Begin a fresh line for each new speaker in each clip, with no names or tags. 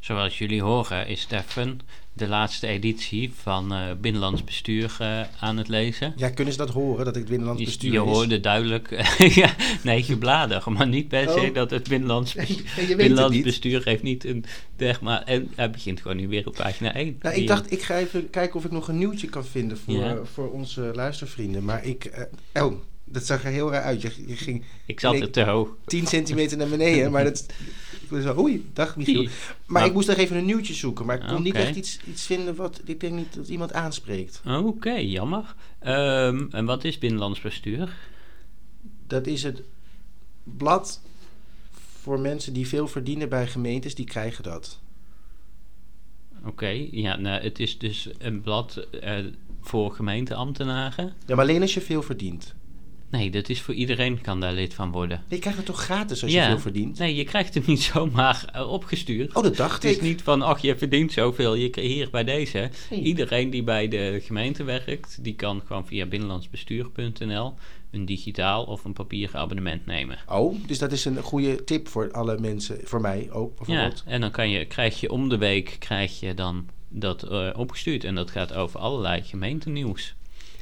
Zoals jullie horen is Stefan de laatste editie van eh, Binnenlands Bestuur eh, aan het lezen.
Ja, kunnen ze dat horen, dat het binnenlands
Je-
bestuur
je
is?
hoorde duidelijk, ja, nee, je bladig, maar niet per se
Oh.
dat het Binnenlands,
Nee, je
bestuur,
weet het
binnenlands
niet.
Bestuur heeft niet een, zeg maar, en hij begint gewoon nu weer op pagina 1.
Nou, ik dacht, ik ga even kijken of ik nog een nieuwtje kan vinden voor, eh,
Ja.
voor onze luistervrienden. Maar ik... eh, oh, dat zag er heel raar uit. Je, je ging
ik zat
nee.
er te hoog.
10 centimeter naar beneden, maar dat... Ik was wel, oei, dag Michiel. Maar,
Maar-
ik moest nog even een nieuwtje zoeken. Maar ik kon niet
Nou. Oké.
echt iets, iets vinden wat... Ik denk niet dat iemand aanspreekt.
Oké, jammer. Ehm, en wat is Binnenlands Bestuur?
Dat is het blad voor mensen die veel verdienen bij gemeentes. Die krijgen dat.
Oké, ja, nou, het is dus een blad eh, voor gemeenteambtenaren.
Ja, maar alleen als je veel verdient.
Nee, dat is voor iedereen kan daar lid van worden.
Nee, je krijgt het toch gratis als je
Ja.
veel verdient?
Nee, je krijgt hem niet zomaar eh, opgestuurd.
Oh, dat dacht
het is
ik.
niet van, ach, je verdient zoveel, je krijgt hier bij deze.
Nee.
Iedereen die bij de gemeente werkt, die kan gewoon via binnenlandsbestuur.nl een digitaal of een papieren abonnement nemen.
Oh, dus dat is een goede tip voor alle mensen. Voor mij ook,
Ja,
bijvoorbeeld.
en dan kan je, krijg je om de week krijg je dan dat eh, opgestuurd. En dat gaat over allerlei gemeentenieuws.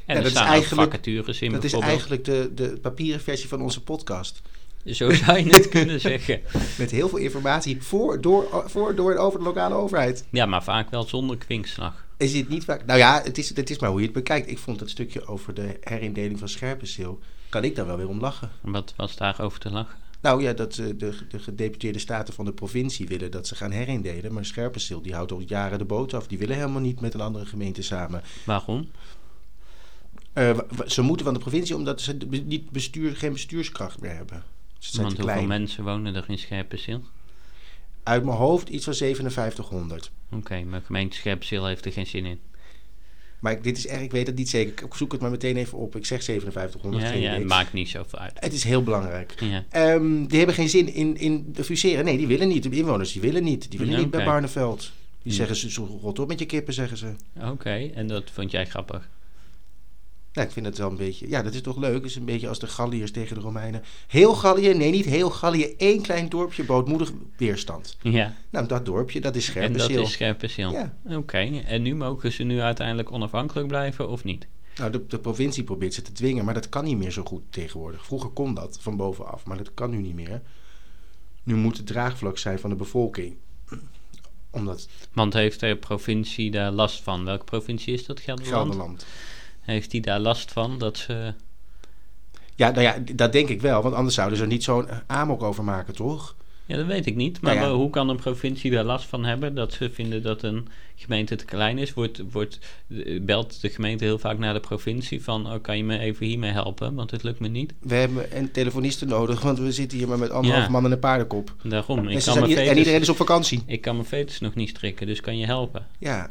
En
Ja,
er
dat is
staan ook
eigenlijk-
vacatures in
dat is
bijvoorbeeld.
eigenlijk de, de papieren versie van onze podcast.
Zo zou je het kunnen zeggen.
Met heel veel informatie voor, door, voor, door en over de lokale overheid.
Ja, maar vaak wel zonder kwinkslag.
Is dit niet vaak? Nou ja, het is, het is maar hoe je het bekijkt. Ik vond dat stukje over de herindeling van Scherpenzeel... kan ik daar wel weer om lachen.
Wat was daarover te lachen?
Nou ja, dat eh, de, de gedeputeerde staten van de provincie willen dat ze gaan herindelen. Maar Scherpenzeel die houdt al jaren de boot af. Die willen helemaal niet met een andere gemeente samen.
Waarom?
Eh, wa- wa- ze moeten van de provincie omdat ze de- niet bestuur, geen bestuurskracht meer hebben. Ze zijn
Want
te
hoeveel
klein.
mensen wonen er in Scherpenzeel?
Uit mijn hoofd iets van 5700.
Oké, maar gemeente Scherpenzeel heeft er geen zin in.
Maar ik, dit is erg, ik weet het niet zeker. Ik zoek het maar meteen even op. Ik zeg 5700.
Ja,
geen
ja,
idee.
het maakt niet zoveel uit.
Het is heel belangrijk.
Ja.
Ehm, die hebben geen zin in, in de fuseren. Nee, die willen niet. De inwoners die willen niet. Die willen
Ja,
niet bij
oké.
Barneveld. Die
Ja.
zeggen ze, zo rot op met je kippen, zeggen ze.
Oké, en dat vond jij grappig.
Nou, ik vind het wel een beetje... Ja, dat is toch leuk. Het is een beetje als de Galliërs tegen de Romeinen. Heel Gallië, nee, niet heel Gallië. Eén klein dorpje bootmoedig weerstand.
Ja,
Nou, dat dorpje, dat is
en dat
Scherpenzeel.
is Scherpenzeel.
Ja.
Oké, en nu mogen ze nu uiteindelijk onafhankelijk blijven of niet?
Nou, de, de provincie probeert ze te dwingen, maar dat kan niet meer zo goed tegenwoordig. Vroeger kon dat van bovenaf, maar dat kan nu niet meer. Nu moet het draagvlak zijn van de bevolking. Omdat
Want heeft de provincie daar last van? Welke provincie is dat? Gelderland?
Gelderland.
Heeft die daar last van dat ze...
Ja, nou ja, d- dat denk ik wel, want anders zouden ze er niet zo'n amok over maken, toch?
Ja, dat weet ik niet. Maar
Nou ja.
wel, hoe kan een provincie daar last van hebben dat ze vinden dat een gemeente te klein is? Wordt, wordt, eh, belt de gemeente heel vaak naar de provincie van, oh, kan je me even hiermee helpen? Want het lukt me niet.
We hebben een telefoniste nodig, want we zitten hier maar met anderhalf
Ja.
man en een paardenkop.
Daarom,
En,
ik
Dus ze
kan,
zijn
mijn
ieder- en
fetus,
iedereen is op vakantie.
ik kan mijn fetus nog niet strikken, dus kan je helpen?
Ja.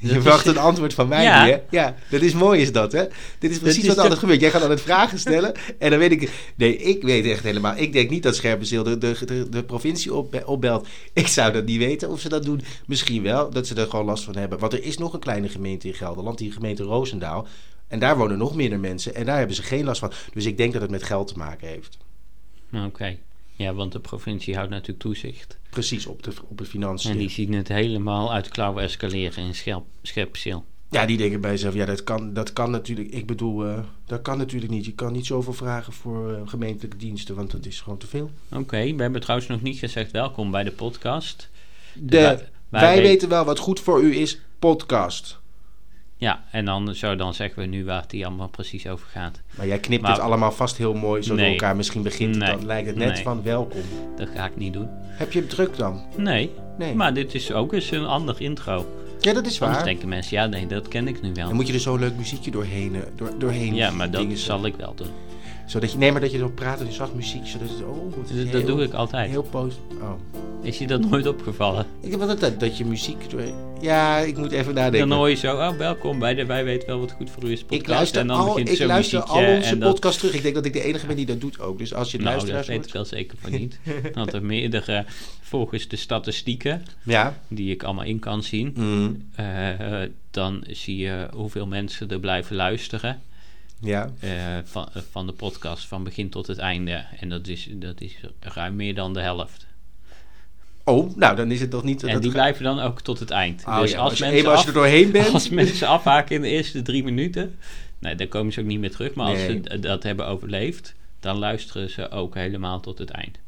Dat
Je
is-
wacht een antwoord van mij,
Ja.
ja. hè? Ja, dat is mooi is dat, hè? Dit is precies
is
wat
de-
altijd gebeurt. Jij gaat altijd vragen stellen en dan weet ik... Nee, ik weet echt helemaal... Ik denk niet dat Scherpenzeel de, de, de, de provincie op, opbelt. Ik zou dat niet weten of ze dat doen. Misschien wel, dat ze er gewoon last van hebben. Want er is nog een kleine gemeente in Gelderland, die gemeente Roosendaal. En daar wonen nog minder mensen en daar hebben ze geen last van. Dus ik denk dat het met geld te maken heeft.
Nou, Oké. Ja, want de provincie houdt natuurlijk toezicht.
Precies, op de, op de financiën.
En die zien het helemaal uit de klauwen escaleren in scherp, Scherpenzeel.
Ja, die denken bij zichzelf, ja, dat kan, dat kan natuurlijk, ik bedoel, eh, dat kan natuurlijk niet. Je kan niet zoveel vragen voor eh, gemeentelijke diensten, want dat is gewoon te veel.
Oké, we hebben trouwens nog niet gezegd welkom bij de podcast.
De,
Wij-
wij
wij we-
weten wel wat goed voor u is, podcast.
Ja, en dan, zo, dan zeggen we nu waar het hier allemaal precies over gaat.
Maar jij knipt
Maar-
het allemaal vast heel mooi zo
Nee.
door elkaar. Misschien begint het
Nee.
dan, lijkt het net
Nee.
van welkom.
Dat ga ik niet doen.
Heb je het druk dan?
Nee,
Nee.
maar dit is ook eens een ander intro.
ja, dat is
Anders
waar.
denken mensen, ja nee, dat ken ik nu
Dan
wel.
moet je er zo'n leuk muziekje doorheen, eh, door, doorheen
Ja, maar dat
dingen-
zal ik wel doen.
Zodat je, nee, maar dat je dan praat en je zacht muziek, zodat het, oh, het is
Dus
heel-
dat doe ik altijd.
Heel post, oh.
Is je dat nooit opgevallen?
Ik heb altijd dat, dat je muziek door... Ja, ik moet even nadenken.
Dan hoor je zo, oh, welkom bij de Wij Weten Wel Wat Goed Voor U Is podcast.
Ik luister,
en dan
al,
begint
ik
zo'n
luister
muziekje
al onze
en dat-
podcasts terug. Ik denk dat ik de enige ben die dat doet ook. Dus als je het
Nou, dat
luisteraars
weet ik
wordt...
wel zeker van niet. Want er meerdere, volgens de statistieken
Ja.
die ik allemaal in kan zien,
Mm.
eh, eh, dan zie je hoeveel mensen er blijven luisteren.
Ja.
eh, van, van de podcast van begin tot het einde. En dat is, dat is ruim meer dan de helft.
Oh, nou dan is het toch niet...
En die blijven dan ook tot het eind.
Oh,
dus
ja,
als,
als je
mensen
eenmaal als je
af-
er doorheen bent.
als mensen afhaken in de eerste drie minuten, nee, dan komen ze ook niet meer terug. Maar als
Nee.
ze d- dat hebben overleefd, dan luisteren ze ook helemaal tot het eind.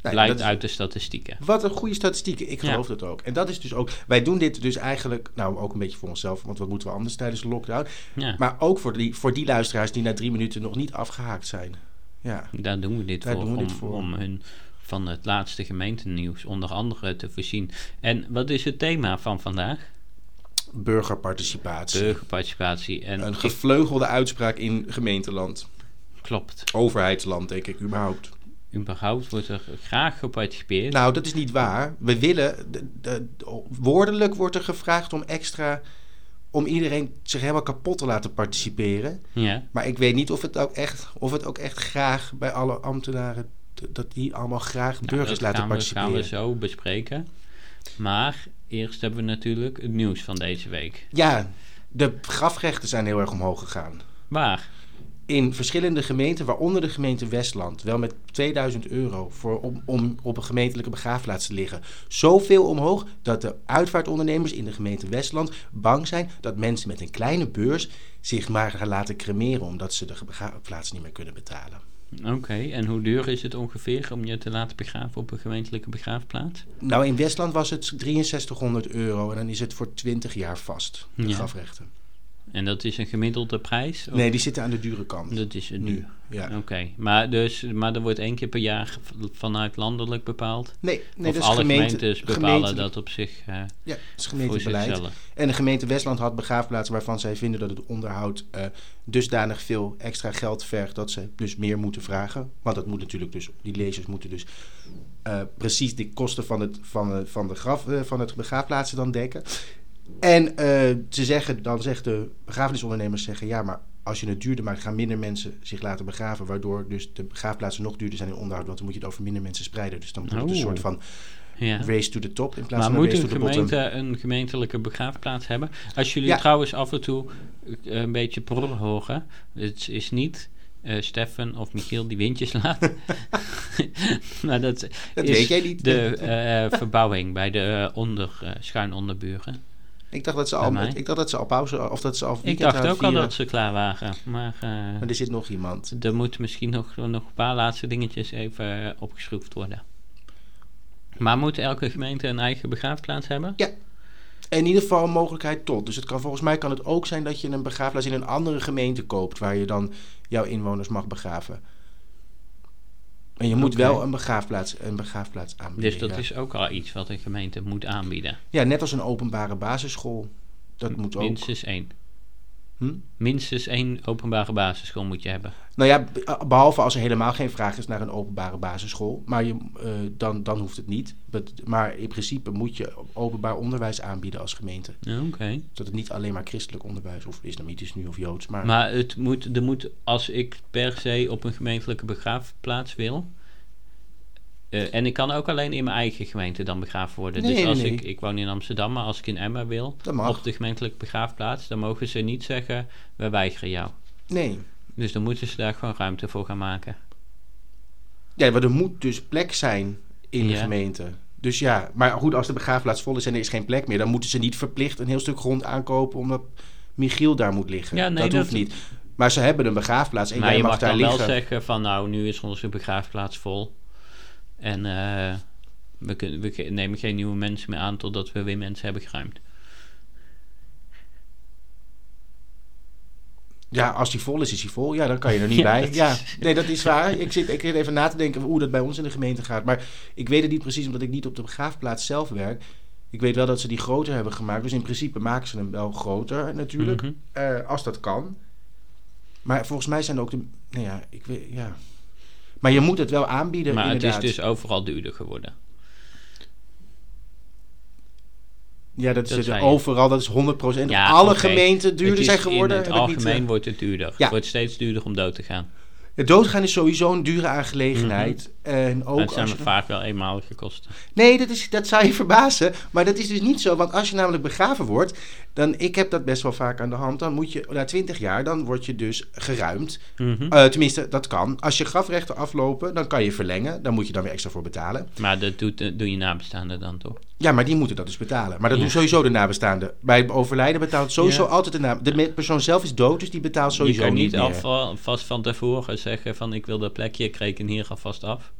Nou,
Blijkt
dat is-
uit de statistieken.
Wat een goede statistieken. Ik
Ja.
geloof dat ook. En dat is dus ook. Wij doen dit dus eigenlijk. Nou, ook een beetje voor onszelf. Want wat moeten we anders tijdens de lockdown?
Ja,
Maar ook voor die, voor die luisteraars die na drie minuten nog niet afgehaakt zijn. Ja.
daar doen we dit
Daar
voor.
doen we
om,
dit voor.
om hun van het laatste gemeentenieuws onder andere te voorzien. En wat is het thema van vandaag?
Burgerparticipatie.
Burgerparticipatie. En
Een gevleugelde uitspraak in gemeenteland.
klopt.
Overheidsland, denk ik, überhaupt.
Überhaupt wordt er graag geparticipeerd.
Nou, dat is niet waar. We willen. de- de- de- woordelijk wordt er gevraagd om extra. om iedereen zich helemaal kapot te laten participeren.
ja.
Maar ik weet niet of het ook echt, of het ook echt graag bij alle ambtenaren. d- dat die allemaal graag burgers
Nou, dat
laten
gaan we,
participeren.
gaan we zo bespreken. Maar eerst hebben we natuurlijk het nieuws van deze week.
Ja, de grafrechten zijn heel erg omhoog gegaan.
Waar?
In verschillende gemeenten, waaronder de gemeente Westland, wel met 2000 euro voor, om, om op een gemeentelijke begraafplaats te liggen. Zoveel omhoog dat de uitvaartondernemers in de gemeente Westland bang zijn dat mensen met een kleine beurs zich maar gaan laten cremeren omdat ze de begraafplaats niet meer kunnen betalen.
Oké, en hoe duur is het ongeveer om je te laten begraven op een gemeentelijke begraafplaats?
Nou, in Westland was het 6300 euro en dan is het voor 20 jaar vast, de
Ja. Oh.
grafrechten.
En dat is een gemiddelde prijs? Of-
Nee, die zitten aan de dure kant.
Dat is het
Nu,
nu.
ja.
Oké, maar, dus, maar er wordt één keer per jaar v- vanuit landelijk bepaald?
Nee, nee
of
dat is
alle
gemeente,
gemeentes bepalen
gemeente-
dat op zich eh,
Ja, dat is
voor
gemeentebeleid.
zichzelf?
En de gemeente Westland had begraafplaatsen waarvan zij vinden dat het onderhoud eh, dusdanig veel extra geld vergt dat ze dus meer moeten vragen. Want dat moet natuurlijk dus, die lezers moeten dus eh, precies de kosten van het, van, eh, van de graf, eh, van het begraafplaatsen dan dekken. En eh, ze zeggen, dan zegt de begrafenisondernemers zeggen, ja, maar als je het duurder maakt, gaan minder mensen zich laten begraven, waardoor dus de begraafplaatsen nog duurder zijn in onderhoud, want dan moet je het over minder mensen spreiden. Dus dan wordt het een
Oh.
soort van
Ja.
race to the top in plaats
Maar
van een
moet
race
een
to the bottom.
gemeente een gemeentelijke begraafplaats hebben? Als jullie
Ja.
trouwens af en toe eh, een beetje pror horen, het is niet eh Stefan of Michiel die windjes laat. maar dat,
Dat
is
weet jij niet.
de eh, verbouwing bij de eh, onder, eh, schuin onderburen.
Ik dacht dat ze
Bij
al,
mij.
ik dacht dat ze al pauze of dat ze al
Ik
weekend
dacht
zouden
ook al
vieren.
dat ze klaar waren, maar eh,
Maar er zit nog iemand.
er moeten misschien nog, nog een paar laatste dingetjes even eh, opgeschroefd worden. Maar moet elke gemeente een eigen begraafplaats hebben?
En in ieder geval een mogelijkheid tot. Dus het kan, volgens mij kan het ook zijn dat je een begraafplaats in een andere gemeente koopt waar je dan jouw inwoners mag begraven. En je moet
Oké.
wel een begraafplaats, een begraafplaats aanbieden.
Dus dat
ja.
is ook al iets wat een gemeente moet aanbieden.
ja, net als een openbare basisschool. Dat moet ook.
Minstens één.
Hm?
Minstens één openbare basisschool moet je hebben.
Nou ja, be- behalve als er helemaal geen vraag is naar een openbare basisschool. Maar je, eh, dan, dan hoeft het niet. Bet- Maar in principe moet je openbaar onderwijs aanbieden als gemeente.
Ja, Oké.
Dat het niet alleen maar christelijk onderwijs of islamitisch nu of joods, maar,
Maar het moet, er moet, als ik per se op een gemeentelijke begraafplaats wil. eh, en ik kan ook alleen in mijn eigen gemeente dan begraven worden.
Nee,
dus
nee,
als
nee.
ik, ik woon in Amsterdam, maar als ik in Emma wil,
Dat mag.
op de gemeentelijke begraafplaats, dan mogen ze niet zeggen, wij weigeren jou.
nee.
Dus dan moeten ze daar gewoon ruimte voor gaan maken.
Ja, maar er moet dus plek zijn in de
Ja.
gemeente. Dus ja, maar goed, als de begraafplaats vol is en er is geen plek meer, dan moeten ze niet verplicht een heel stuk grond aankopen omdat Michiel daar moet liggen.
Ja, nee,
dat,
dat-
hoeft niet. Maar ze hebben een begraafplaats en
maar
jij
je
mag,
mag
daar
dan wel
liggen.
zeggen van nou, nu is onze begraafplaats vol. En eh, we, kunnen, we ge- nemen geen nieuwe mensen meer aan totdat we weer mensen hebben geruimd.
Ja, als die vol is, is die vol. Ja, dan kan je er niet
Ja,
bij.
dat
Ja,
is-
nee, dat is waar. Ik zit, ik zit even na te denken hoe dat bij ons in de gemeente gaat. Maar ik weet het niet precies, omdat ik niet op de begraafplaats zelf werk. Ik weet wel dat ze die groter hebben gemaakt. Dus in principe maken ze hem wel groter, natuurlijk.
Mhm.
Eh, als dat kan. Maar volgens mij zijn er ook de... Nou ja, ik weet... Ja. Maar je moet het wel aanbieden,
Maar
inderdaad.
het is dus overal duurder geworden.
ja, dat,
dat
is
zei je.
overal. Dat is 100%.
Ja,
alle
oké.
gemeenten duurder
Het is
zijn geworden.
In het
heb ik niet,
algemeen
eh,
wordt het duurder.
Ja.
Het wordt steeds duurder om dood te gaan.
Het doodgaan is sowieso een dure aangelegenheid. En ook
dat Mhm. zijn
als je
maar vaak wel eenmalige kosten.
Nee, dat, is, dat zou je verbazen. Maar dat is dus niet zo. Want als je namelijk begraven wordt, dan ik heb dat best wel vaak aan de hand. Dan moet je na 20 jaar, dan word je dus geruimd.
Mhm.
Eh, tenminste, dat kan. Als je grafrechten aflopen, dan kan je verlengen. Dan moet je dan weer extra voor betalen.
Maar dat doet, eh, doen je nabestaanden dan toch?
Ja, maar die moeten dat dus betalen. Maar dat
Ja.
doen sowieso de nabestaanden. Bij overlijden betaalt sowieso
Ja.
altijd de naam. De me- persoon zelf is dood, dus die betaalt sowieso
je kan
niet
niet
meer.
alva- vast van tevoren zeggen van ik wil dat plekje, ik reken hier alvast af.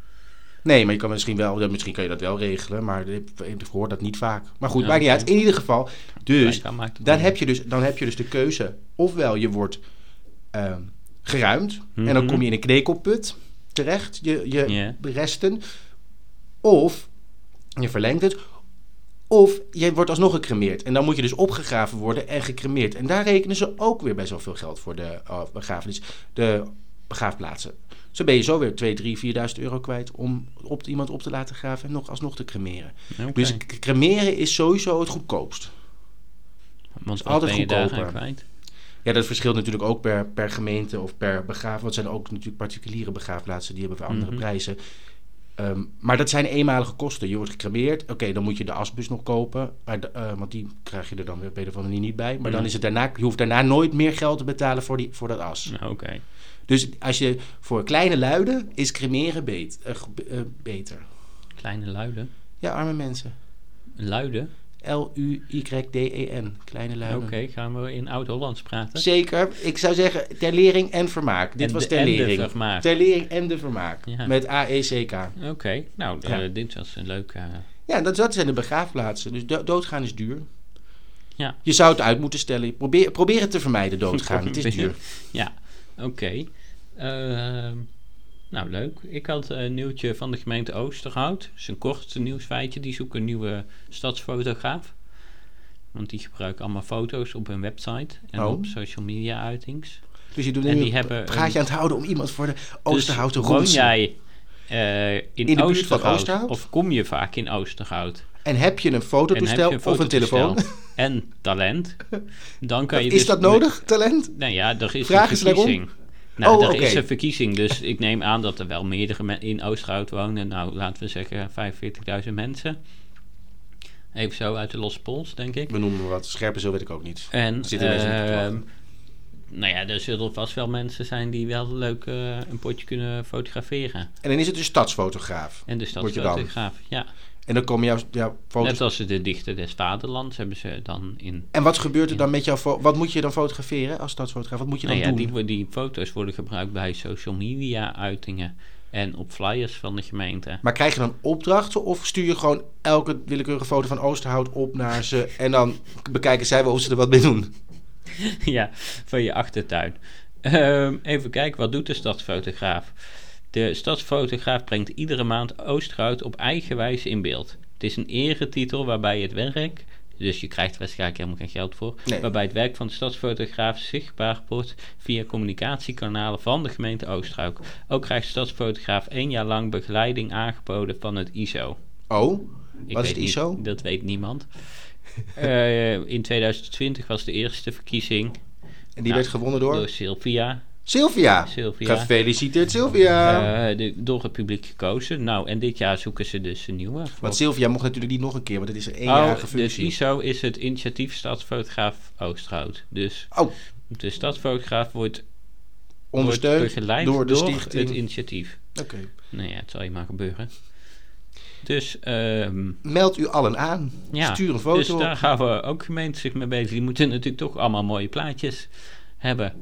Nee, maar je kan misschien wel, eh, misschien kan je dat wel regelen. Maar ik ik hoor dat niet vaak. Maar goed,
Ja,
maakt niet
oké.
uit. In ieder geval, dus
Blijkbaar maakt het
Dan
niet
heb,
uit.
je dus, dan heb je dus de keuze. Ofwel je wordt ehm, geruimd. En dan
Mhm.
kom je in een knekelput terecht. Je, je
Ja.
resten. Of je verlengt het. Of je wordt alsnog gecremeerd. En dan moet je dus opgegraven worden en gecremeerd. En daar rekenen ze ook weer best wel veel geld voor de eh, begrafenis. De begraafplaatsen. Zo ben je zo weer 2, 3, 4.000 euro kwijt om op, iemand op te laten graven en nog, alsnog te cremeren.
Oké.
Dus k- cremeren is sowieso het goedkoopst.
Want wat
altijd
ben je daar aan
goedkoper.
kwijt?
Ja, dat verschilt natuurlijk ook per, per gemeente of per begraaf. Want er zijn ook natuurlijk particuliere begraafplaatsen, die hebben weer andere
Mhm.
prijzen. Ehm, maar dat zijn eenmalige kosten. Je wordt gecremeerd, oké, dan moet je de asbus nog kopen. Maar de- eh, want die krijg je er dan weer op een of andere manier niet bij. Maar dan
Mhm.
is het daarna, je hoeft daarna nooit meer geld te betalen voor, die, voor dat as.
Nou, Oké.
Dus als je voor kleine luiden is cremeren beet- eh, ge- eh, beter.
Kleine luiden.
Ja, arme mensen.
Luiden?
L-U-Y-D-E-N. E Kleine
Oké,
luiden.
gaan we in Oud-Hollands praten?
Zeker. Ik zou zeggen, ter lering en vermaak. Dit
En
was
de-
ter
en de
lering.
vermaak.
Ter lering en de vermaak.
Ja.
Met E AECK.
Oké, nou,
Ja.
eh, dit was een eh, leuke...
Ja, dat, dat zijn de begraafplaatsen. Dus do- doodgaan is duur.
Ja.
Je zou het uit moeten stellen. Probeer, probeer het te vermijden, doodgaan. het is duur.
ja, oké. Ehm, nou, leuk. Ik had een nieuwtje van de gemeente Oosterhout. Het is een kort nieuwsfeitje. Die zoeken een nieuwe stadsfotograaf. Want die gebruiken allemaal foto's op hun website en
Oh.
op social media uitings.
Dus je doet
En
nu
die hebben
een praatje aan het houden om iemand voor de Oosterhout te
dus woon
roesten.
jij eh, in,
buurt van
Oosterhout,
Oosterhout?
Of kom je vaak in Oosterhout?
En heb je een fototoestel of een telefoon?
fototoestel En talent. Dan kan je
is
dus
dat
met-
nodig, talent?
Nou ja, er is
Vraag
een
eens daarom.
verkiezing. Nou,
Oh,
er is
oké.
een verkiezing, dus ik neem aan dat er wel meerdere men- in Oosterhout wonen. Nou, laten we zeggen 45.000 mensen. Even zo uit de losse pols, denk ik.
We noemen maar wat. Scherpe zo weet ik ook niet.
En,
Er zitten mensen niet te
ehm,
klagen.
nou ja, er zullen vast wel mensen zijn die wel leuk eh, een potje kunnen fotograferen.
En dan is het een stadsfotograaf.
En de
Word je dan.
stadsfotograaf, ja.
En dan komen jouw, jouw foto's...
Net als de dichter des vaderlands hebben ze dan in...
En wat gebeurt er dan met jouw fo- Wat moet je dan fotograferen als stadsfotograaf? Wat moet je dan
Nou ja,
doen?
die, wo- die foto's worden gebruikt bij social media uitingen en op flyers van de gemeente.
Maar krijg je dan opdrachten of stuur je gewoon elke willekeurige foto van Oosterhout op naar ze en dan bekijken zij wel of ze er wat mee doen?
ja, van je achtertuin. Ehm, even kijken, wat doet de stadsfotograaf? De stadsfotograaf brengt iedere maand Oosterhout op eigen wijze in beeld. Het is een eretitel waarbij het werk, dus je krijgt er waarschijnlijk helemaal geen geld voor,
Nee.
waarbij het werk van de stadsfotograaf zichtbaar wordt via communicatiekanalen van de gemeente Oosterhout. Ook krijgt de stadsfotograaf één jaar lang begeleiding aangeboden van het ISO.
Oh,
Ik
wat is
weet
het ISO?
niet, dat weet niemand. Eh, in 2020 was de eerste verkiezing
En die
Nou,
werd gewonnen door,
door Sylvia.
Sylvia.
Sylvia.
Gefeliciteerd Sylvia.
Eh, de- door het publiek gekozen. Nou, en dit jaar zoeken ze dus een nieuwe. Voor-
Want Sylvia mocht natuurlijk niet nog een keer, want het is een
Oh,
eenjarige
dus
functie.
ISO is het initiatief Stadsfotograaf Oosterhout. Dus
Oh,
de stadsfotograaf wordt, wordt
ondersteund
begeleid
door
door,
de
het
stichting.
initiatief.
Oké.
Nou ja, het zal je maar gebeuren. Dus, ehm,
Meld u allen aan.
ja.
Stuur een foto
dus
op.
daar gaan we ook gemeenten zich mee bezig. Die moeten natuurlijk toch allemaal mooie plaatjes hebben.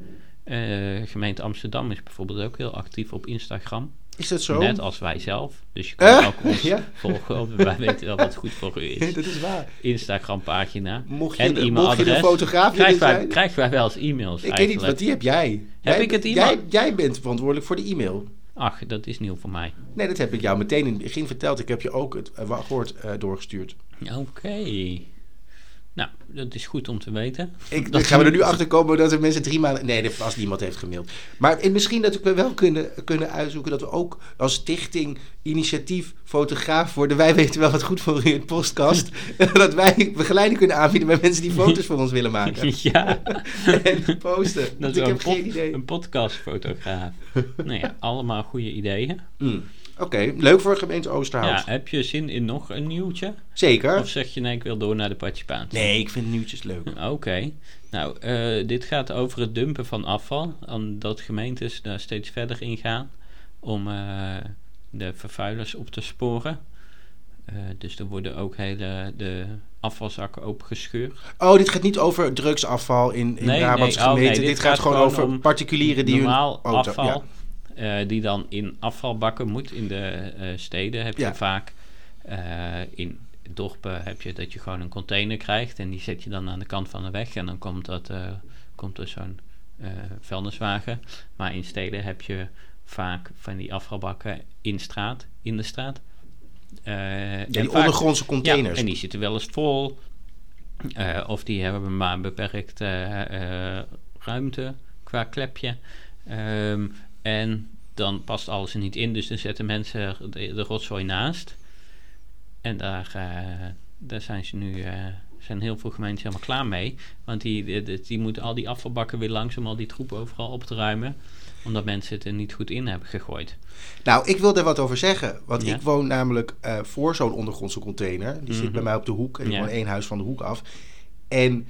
Eh, gemeente Amsterdam is bijvoorbeeld ook heel actief op Instagram.
Is dat zo?
Net als wij zelf. Dus je kunt
Eh?
ook ons
Ja.
volgen. want Wij weten wel wat goed voor u is.
dat is waar.
Instagram pagina.
Mocht je,
En
de, mocht je de
e-mailadres.
fotograaf willen
Krijgen wij,
zijn?
krijgen wij wel eens e-mails
Ik weet niet,
eigenlijk.
want die heb jij.
Heb
jij,
ik het
jij,
e-mail?
jij bent verantwoordelijk voor de e-mail.
Ach, dat is nieuw voor mij.
Nee, dat heb ik jou meteen in het begin verteld. Ik heb je ook het eh, wa- woord eh, doorgestuurd.
Oké. Nou, dat is goed om te weten.
Ik,
Dat
gaan we er nu
niet-
achter komen dat er mensen drie maanden. Nee, dat vast niemand heeft gemaild. Maar en misschien dat we wel kunnen, kunnen uitzoeken dat we ook als stichting initiatief fotograaf worden. Wij weten wel wat goed voor in het podcast. dat wij begeleiding kunnen aanbieden bij mensen die foto's voor ons willen maken.
ja,
en posten.
dat
Want
is wel
ik
een,
heb geen
pod-
idee.
een podcastfotograaf. nou ja, allemaal goede ideeën.
Hmm. Oké, leuk voor gemeente Oosterhout.
Ja, heb je zin in nog een nieuwtje? Of
Zeker.
zeg je nee, ik wil door naar de participatie? Hm,
Eh? Nee, ik vind nieuwtjes leuk.
Oké. Nou, eh, dit gaat over het dumpen van afval. En dat gemeentes daar steeds verder in gaan om eh, de vervuilers op te sporen. Eh, dus er worden ook hele de afvalzakken opengescheurd.
Oh, dit gaat niet over drugsafval in, in
Nee,
Brabants
nee, oh, nee,
gemeente. dit,
dit
gaat
gaat
gewoon
gewoon
over
om
particulieren die
normaal
hun auto...
afval,
ja.
eh, die dan in afvalbakken moet. In de eh, steden heb je
Ja.
vaak. eh, in dorpen heb je dat je gewoon een container krijgt en die zet je dan aan de kant van de weg en dan komt, dat, eh, komt er zo'n eh, vuilniswagen. Maar in steden heb je vaak van die afvalbakken in straat, in de straat. Eh, en
Ja, die
vaak-
ondergrondse containers.
ja, en die zitten wel eens vol. Eh, of die hebben maar beperkt eh, eh, ruimte qua klepje. Ehm, en dan past alles er niet in, dus dan zetten mensen de, de rotzooi naast. En daar, eh, daar zijn ze nu. eh, zijn heel veel gemeentes helemaal klaar mee. Want die, die, die- die moeten al die afvalbakken weer langs om al die troep overal op te ruimen. Omdat mensen het er niet goed in hebben gegooid.
Nou, ik wil daar wat over zeggen. Want
Ja. Mhm.
ik woon namelijk eh, voor zo'n ondergrondse container. Die zit bij mij op de hoek. En ik
Ja.
woon één huis van de hoek af. En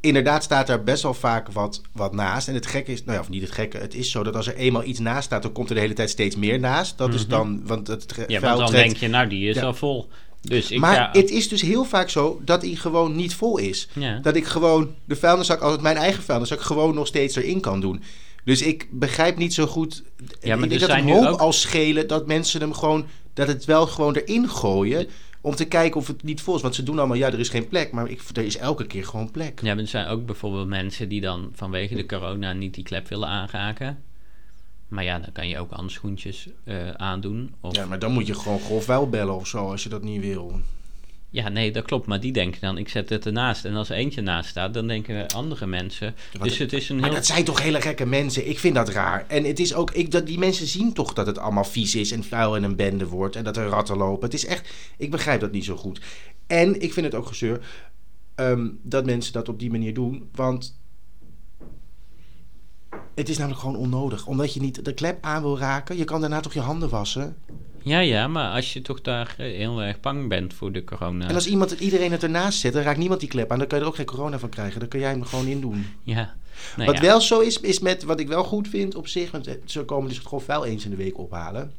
inderdaad staat daar best wel vaak wat, wat naast. En het gekke is, nou ja, of niet het gekke. Het is zo dat als er eenmaal iets naast staat, dan komt er de hele tijd steeds meer naast. Dat is dan, want het ge-
Mhm. Ja,
vuil
want dan
trekt-
denk je, nou die is
Ja.
al vol. Dus ik
maar
ga.
het is dus heel vaak zo dat hij gewoon niet vol is.
Ja.
Dat ik gewoon de vuilniszak, als het mijn eigen vuilniszak, gewoon nog steeds erin kan doen. Dus ik begrijp niet zo goed.
Ja, maar
ik denk
er
dat
zijn
een
nu
hoop
ook-
al schelen dat mensen hem gewoon, dat het wel gewoon erin gooien. Om te kijken of het niet vol is. Want ze doen allemaal, ja, er is geen plek. Maar ik, er is elke keer gewoon plek.
Ja, maar er zijn ook bijvoorbeeld mensen die dan vanwege de corona niet die klep willen aanraken. Maar ja, dan kan je ook handschoentjes eh, aandoen. Of,
Ja,
ja.
maar dan moet je gewoon grof wel bellen of zo, als je dat niet wil.
nee, dat klopt. Maar die denken dan, ik zet het ernaast. En als er eentje naast staat, dan denken andere mensen. dus het is een
Maar
heel...
dat zijn toch hele gekke mensen. Ik vind dat raar. En het is ook, ik, dat, die mensen zien toch dat het allemaal vies is en vuil en een bende wordt en dat er ratten lopen. Het is echt, ik begrijp dat niet zo goed. En ik vind het ook gezeur ehm, dat mensen dat op die manier doen, want het is namelijk gewoon onnodig. Omdat je niet de klep aan wil raken, je kan daarna toch je handen wassen.
Ja, ja, maar als je toch daar eh, heel erg bang bent voor de corona.
En als iemand, iedereen het ernaast zet, dan raakt niemand die klep aan. Dan kan je er ook geen corona van krijgen. Dan kan jij hem gewoon indoen.
Ja. Nou
wat
ja.
wel zo is, is met wat ik wel goed vind op zich. Want eh, ze komen dus het grof vuil eens in de week ophalen.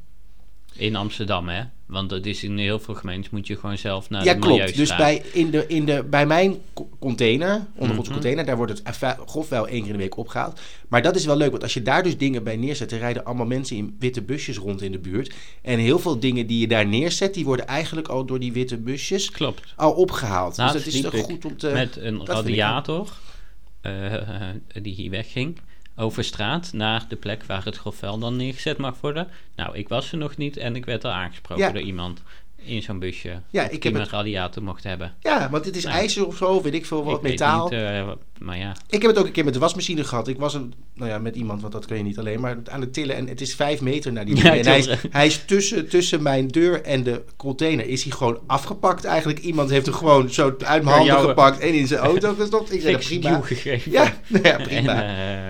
Nou, In Amsterdam, hè? Want dat is in heel veel gemeentes moet je gewoon zelf naar
ja,
de
klopt. Dus
milieustraat.
bij, in de, in de, bij mijn co- container, onder
Mm-hmm.
onze container, daar wordt het eh, vuil- grof wel één keer in de week opgehaald. Maar dat is wel leuk, want als je daar dus dingen bij neerzet, er rijden allemaal mensen in witte busjes rond in de buurt. En heel veel dingen die je daar neerzet, die worden eigenlijk al door die witte busjes
Klopt.
al opgehaald.
Laatst
dus dat is
Nou, liep
toch
ik
goed om te...
met een
dat vind ik
radiator eh, eh, die hier wegging over straat naar de plek waar het grofvuil dan neergezet mag worden. Nou, ik was er nog niet en ik werd al aangesproken
Ja.
door iemand in zo'n busje
Ja, ik
die
heb
mijn
het-
radiator mocht hebben.
Ja, want het is
Nou.
ijzer of zo, weet ik veel, wat
ik weet
metaal.
niet, eh, wat- maar ja,
Ik heb het ook een keer met de wasmachine gehad. Ik was een, nou ja, met iemand, want dat kun je niet alleen, maar aan het tillen. En het is vijf meter naar die
Ja,
deur. en
ik
hij
wil
is, hij is tussen, tussen mijn deur en de container. Is hij gewoon afgepakt eigenlijk. Iemand heeft hem gewoon zo uit mijn
Door
handen
jou, eh,
gepakt en in zijn auto gestopt. Ik zei,
fix
nou, prima.
nieuw gegeven.
Ja, nou ja,
En,
prima.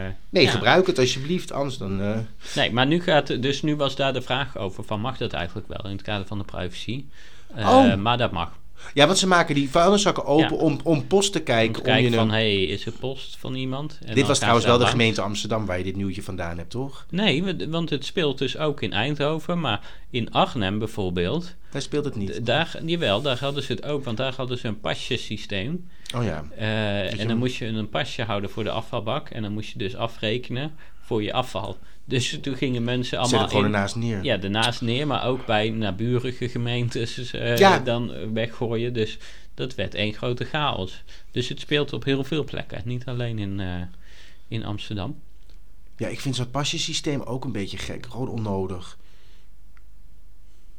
eh,
nee,
ja.
gebruik het alsjeblieft, anders dan... eh,
Nee, maar nu gaat, dus nu was daar de vraag over van mag dat eigenlijk wel in het kader van de privacy? Eh,
Oh.
Maar dat mag.
Ja, want ze maken die vuilniszakken
Ja.
open om, om post te
Om te
kijken. Om
kijken
je
van,
een-
hey, is er post van iemand? En dan
dit was
gaan ze
trouwens wel de
daar langs.
gemeente Amsterdam waar je dit nieuwtje vandaan hebt, toch?
Nee, want- want het speelt dus ook in Eindhoven, maar in Arnhem bijvoorbeeld,
Daar speelt het niet.
d- daar, jawel, daar hadden ze het ook, want daar hadden ze een pasjesysteem.
Oh ja.
Eh, en
hem-
dan moest je een pasje houden voor de afvalbak en dan moest je dus afrekenen voor je afval. Dus toen gingen mensen
Zet
allemaal
het gewoon
in-
ernaast neer.
ja, daarnaast neer, maar ook bij naburige gemeentes eh,
Ja.
dan eh, weggooien. Dus dat werd één grote chaos. Dus het speelt op heel veel plekken, niet alleen in, eh, in Amsterdam.
Ja, ik vind zo'n pasjesysteem ook een beetje gek. Gewoon onnodig.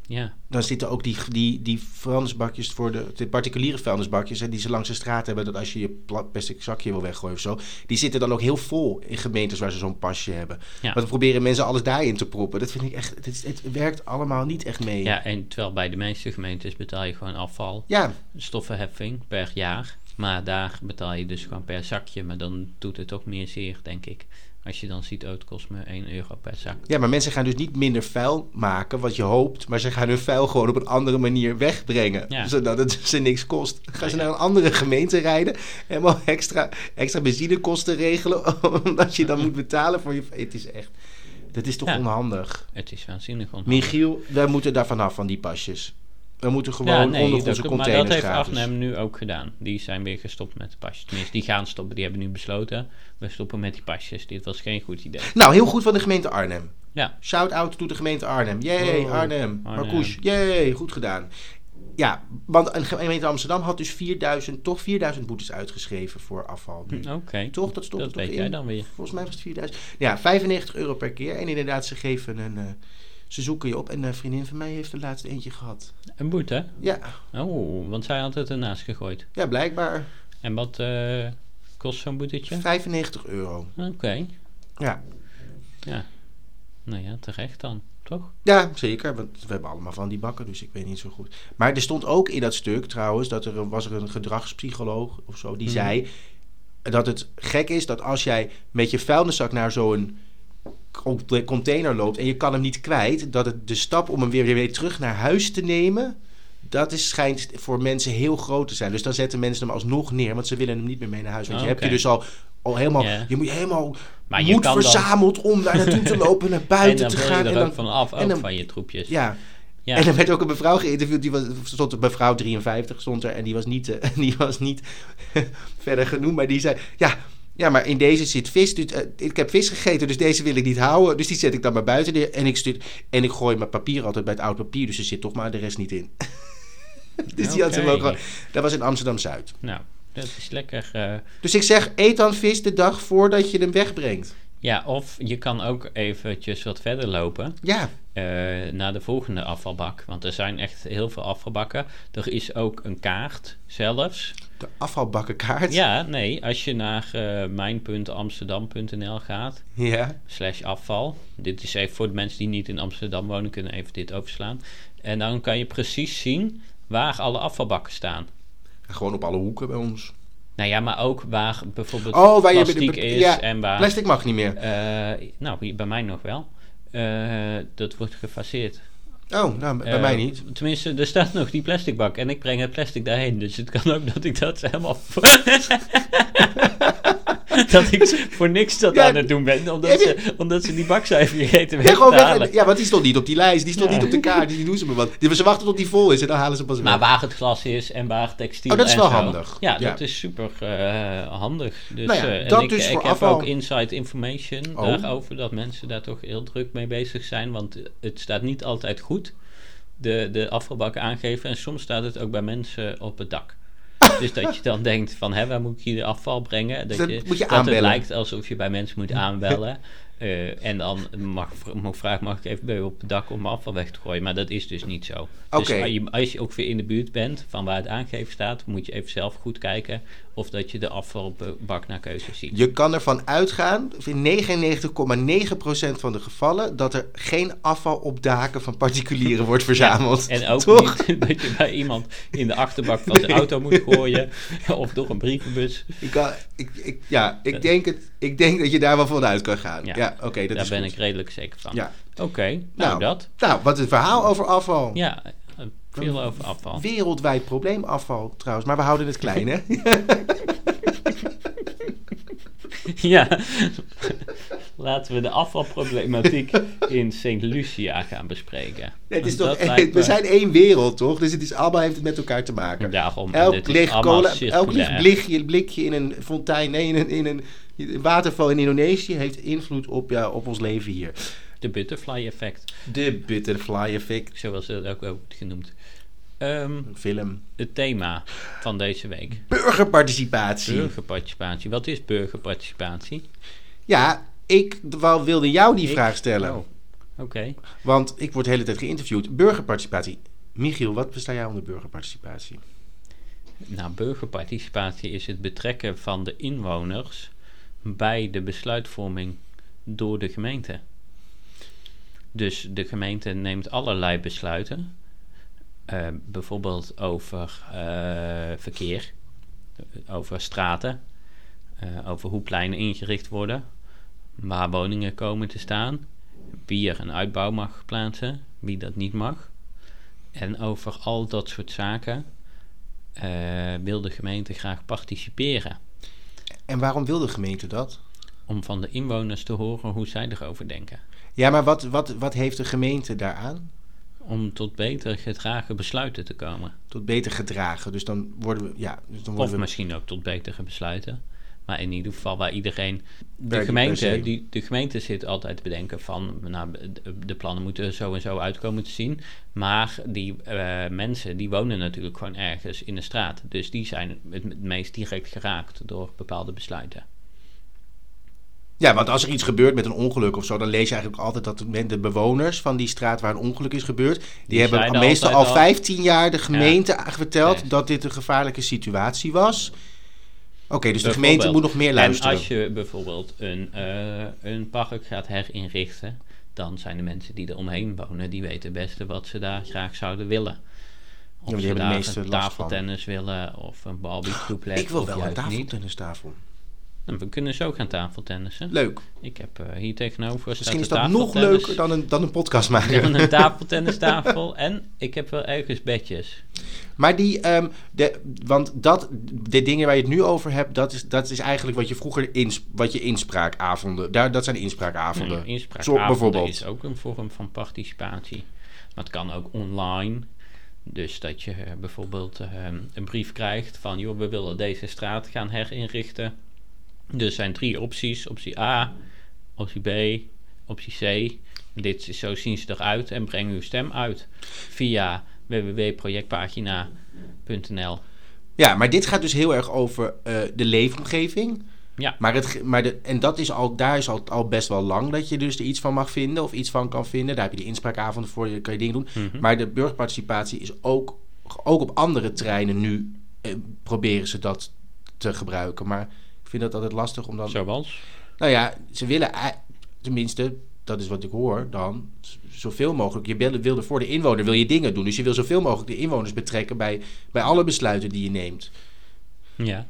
Ja,
Dan zitten ook die, die, die vuilnisbakjes voor de, de particuliere vuilnisbakjes... Hè, die ze langs de straat hebben... dat als je je pla- plastic zakje wil weggooien of zo... die zitten dan ook heel vol in gemeentes waar ze zo'n pasje hebben.
Ja.
Want we proberen mensen alles daarin te proppen. Dat vind ik echt... Het, is- het werkt allemaal niet echt mee.
ja en terwijl bij de meeste gemeentes betaal je gewoon afval.
ja.
stoffenheffing per jaar. Maar daar betaal je dus gewoon per zakje. Maar dan doet het ook meer zeer, denk ik. Als je dan ziet, oh, het kost me 1 euro per zak.
Ja, maar mensen gaan dus niet minder vuil maken, wat je hoopt. Maar ze gaan hun vuil gewoon op een andere manier wegbrengen.
Ja.
Zodat het ze niks kost. Gaan ze
Ja, ja.
naar een andere gemeente rijden. Helemaal extra, extra benzinekosten regelen. Omdat je dan moet betalen voor je. Het is echt. Dat is toch
Ja.
onhandig.
Het is waanzinnig onhandig.
Michiel, wij moeten daar vanaf van die pasjes. We moeten gewoon
ja, nee,
onder
dat
onze
klopt, maar dat
containers
heeft
gratis.
Arnhem nu ook gedaan. Die zijn weer gestopt met de pasjes. Tenminste, die gaan stoppen. Die hebben nu besloten, we stoppen met die pasjes. Dit was geen goed idee.
Nou, heel goed van de gemeente Arnhem.
Ja.
Shout-out to de gemeente Arnhem. Yay,
Wow,
Arnhem.
Arnhem.
Marcouch, yay, goed gedaan. Ja, want de gemeente Amsterdam had dus 4000, toch 4000 boetes uitgeschreven voor afval. nu.
Oké,
Toch? Dat stond
Hm. dat
er toch
weet
in?
jij dan weer.
Volgens mij was het 4000. Ja, 95 euro per keer. En inderdaad, ze geven een... eh, ze zoeken je op. En een vriendin van mij heeft er laatst eentje gehad.
Een boete?
Ja,
Oh, want zij had het ernaast gegooid.
ja blijkbaar.
En wat eh, kost zo'n boetetje?
95 euro.
Oké.
Ja.
Ja. Nou ja, terecht dan, toch?
Ja, zeker. Want we hebben allemaal van die bakken, dus ik weet niet zo goed. Maar er stond ook in dat stuk trouwens, dat er een- was er een gedragspsycholoog of zo, die
Mhm.
zei dat het gek is dat als jij met je vuilniszak naar zo'n cont- container loopt en je kan hem niet kwijt, dat het de stap om hem weer, weer terug naar huis te nemen, dat is, schijnt voor mensen heel groot te zijn. Dus dan zetten mensen hem alsnog neer, want ze willen hem niet meer mee naar huis. Want
Oh,
je hebt je
oké.
dus al, al helemaal,
Ja.
je moet je helemaal
Maar je
moed
kan dan-
verzameld om daar naartoe te lopen, naar
En
buiten
dan
te
wil je
gaan.
er
en
ook
dan-
van af,
en
ook
dan-
van je troepjes.
ja,
Ja.
en er werd ook een mevrouw geïnterviewd. Die was, stond een mevrouw 53 stond er en die was niet, eh, die was niet verder genoemd. Maar die zei: ja, ja, maar in deze zit vis. Dus, eh, ik heb vis gegeten, dus deze wil ik niet houden. Dus die zet ik dan maar buiten neer. En ik, stuur, en ik gooi mijn papier altijd bij het oud papier. Dus er zit toch maar de rest niet in. dus die had ze
Oké.
ook gewoon. Dat was in Amsterdam Zuid.
Nou, dat is lekker. eh,
Dus ik zeg: eet dan vis de dag voordat je hem wegbrengt.
ja, of je kan ook eventjes wat verder lopen
Ja,
eh, naar de volgende afvalbak. Want er zijn echt heel veel afvalbakken. Er is ook een kaart zelfs.
de afvalbakkenkaart.
Ja, nee, als je naar eh, mijn.amsterdam.nl gaat,
ja.
slash afval. Dit is even voor de mensen die niet in Amsterdam wonen, kunnen even dit overslaan. En dan kan je precies zien waar alle afvalbakken staan.
Gewoon op alle hoeken bij ons.
Nou ja, maar ook waar bijvoorbeeld
Oh, waar je bij de-
plastiek
bij-
is
ja,
en waar...
Plastic mag niet meer.
eh, nou, hier bij mij nog wel. Eh, dat wordt gefaseerd.
Oh, nou, bij
Eh,
mij niet.
Tenminste, er staat nog die plastic bak en ik breng het plastic daarheen. Dus het kan ook dat ik dat helemaal... voor- dat ik voor niks dat
Ja,
aan het doen ben.
heb
Omdat,
je-
ze, omdat ze die bak zijn vergeten
Ja,
weg
gewoon
te
weg.
halen.
Ja, want die stond niet op die lijst. Die stond
Ja.
niet op de kaart. Die doen ze maar wat. Die- Ze wachten tot die vol is en dan halen ze pas
Maar
weg.
waar het glas is en waar textiel
Oh, dat is
en
wel
zo.
handig.
Ja,
Ja.
dat is super eh, handig. Dus,
Nou ja,
eh, en
dat
ik,
dus
ik
voor
heb
afval.
ook inside information
Oh.
daarover dat mensen daar toch heel druk mee bezig zijn, want het staat niet altijd goed. De, de afvalbak aangeven en soms staat het ook bij mensen op het dak. Dus dat je dan denkt van, hè, waar moet ik hier de afval brengen? Dat,
Dan
je,
moet je
dat het
aanbellen.
lijkt alsof je bij mensen moet aanbellen. Eh, en dan mag, mag vragen, mag ik even bij u op het dak om mijn afval weg te gooien? Maar dat is dus niet zo.
Oké.
Dus als je, als je ook weer in de buurt bent van waar het aangeven staat, moet je even zelf goed kijken of dat je de afvalbak naar keuze ziet.
Je kan ervan uitgaan, in 99,9% van de gevallen, dat er geen afval op daken van particulieren wordt verzameld.
En ook
Toch?
niet dat je bij iemand in de achterbak van zijn auto moet gooien of door een brievenbus.
Ik, kan, ik, ik, ja, ik denk, het, ik denk dat je daar wel vanuit kan gaan. Ja,
Ja.
oké, dat
Daar
is
ben
goed.
ik redelijk zeker van.
Ja.
Oké, nou, dat.
Nou, wat een verhaal over afval.
Ja, eh, veel over afval.
Wereldwijd probleem afval trouwens, maar we houden het klein hè.
Ja, laten we de afvalproblematiek in Sint Lucia gaan bespreken.
Het is
Want
toch,
dat lijkt
we
me-
zijn één wereld toch, dus het is allemaal heeft het met elkaar te maken.
Daarom, en
Elk
dit is
licht,
allemaal
cola, elk licht
circulair.
blikje, blikje in een fontein, nee, in een, in een waterval in Indonesië heeft invloed op, ja, op ons leven hier.
De butterfly effect,
De Butterfly Effect
zoals eh, dat ook wordt genoemd. Ehm,
film.
het thema van deze week.
Burgerparticipatie.
Burgerparticipatie. Wat is burgerparticipatie?
Ja, ik d- wou- wilde jou die
Ik?
vraag stellen.
Oh, Oké. Oké.
Want ik word de hele tijd geïnterviewd. Burgerparticipatie. Michiel, wat besta jij onder burgerparticipatie?
Nou, burgerparticipatie is het betrekken van de inwoners bij de besluitvorming door de gemeente. Dus de gemeente neemt allerlei besluiten, eh, bijvoorbeeld over eh, verkeer, over straten, eh, over hoe pleinen ingericht worden, waar woningen komen te staan, wie er een uitbouw mag plaatsen, wie dat niet mag. En over al dat soort zaken eh, wil de gemeente graag participeren.
En waarom wil de gemeente dat?
Om van de inwoners te horen hoe zij erover denken.
Ja, maar wat, wat, wat heeft de gemeente daaraan?
Om tot beter gedragen besluiten te komen.
Tot beter gedragen. Dus dan worden we. Ja, dus dan
Of
worden we
misschien ook tot betere besluiten. Maar in ieder geval waar iedereen.
Per-
De
per se.
gemeente, die, de gemeente zit altijd te bedenken van. Nou, de- de plannen moeten er zo en zo uitkomen te zien. Maar die eh, mensen die wonen natuurlijk gewoon ergens in de straat. Dus die zijn het, het meest direct geraakt door bepaalde besluiten.
Ja, want als er iets gebeurt met een ongeluk of zo, dan lees je eigenlijk altijd dat men- de bewoners van die straat waar een ongelk is gebeurd, die,
Die
hebben
zijn
al-
er
meestal al
altijd al.
15 jaar de gemeente verteld
Nee.
dat dit een gevaarlijke situatie was. Oké, dus de gemeente moet nog meer luisteren.
En als je bijvoorbeeld een, eh, een park gaat herinrichten, dan zijn de mensen die er omheen wonen, die weten het beste wat ze daar graag zouden willen. Of
Ja, maar die
ze
hebben de
daar
meeste
een
last van.
tafeltennis willen of een barbecueplek.
Ik wil
of
wel een
juist niet.
tafeltennistafel.
Nou, we kunnen zo gaan tafeltennissen.
Leuk.
Ik heb eh, hier tegenover staat
Misschien is
de
dat nog
tafeltennis.
leuker dan een, dan een podcast
We
maken.
hebben een tafeltennistafel en ik heb wel ergens bedjes.
Maar die, ehm, de, want dat, de dingen waar je het nu over hebt, dat is, dat is eigenlijk wat je vroeger, ins, wat je inspraakavonden, daar, dat zijn inspraakavonden.
Nou,
Zo,
Inspraakavonden
bijvoorbeeld.
is ook een vorm van participatie. Maar het kan ook online. Dus dat je eh, bijvoorbeeld eh, een brief krijgt van... joh, we willen deze straat gaan herinrichten. Dus Er zijn drie opties. Optie A, optie B, optie C. Dit is, zo zien ze eruit en breng uw stem uit. Via www.projectpagina.nl
Ja, maar dit gaat dus heel erg over eh, de leefomgeving.
Ja.
Maar, het, ge- maar de, en dat is al, daar is al, al best wel lang dat je dus er iets van mag vinden of iets van kan vinden. Daar heb je de inspraakavonden voor, daar kan je dingen doen. Maar de burgerparticipatie is ook, ook op andere terreinen nu eh, proberen ze dat te gebruiken. Maar ik vind dat altijd lastig om dan...
Zoals?
Nou ja, ze willen, ei- tenminste, dat is wat ik hoor dan, z- zoveel mogelijk. Je wilde, wilde voor de inwoner wil je dingen doen. Dus je wil zoveel mogelijk de inwoners betrekken bij, bij alle besluiten die je neemt.
Ja.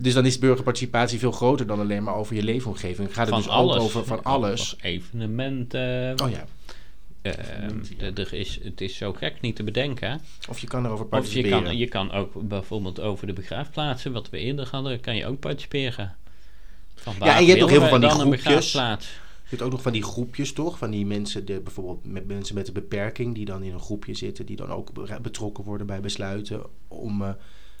Dus dan is burgerparticipatie veel groter dan alleen maar over je leefomgeving. Gaat het dus ook over van alles.
Evenementen.
Oh ja,
Ehm, d- er is, het is zo gek niet te bedenken.
of je kan erover
Of je
participeren.
kan, je kan ook bijvoorbeeld over de begraafplaatsen, wat we eerder hadden, kan je ook participeren. Van
Ja, en je hebt ook
willen
heel veel
we
van die
dan een
groepjes.
begraafplaats?
Je hebt ook nog van die groepjes, toch? Van die mensen, de, bijvoorbeeld met mensen met een beperking... die dan in een groepje zitten... die dan ook be- betrokken worden bij besluiten... om eh,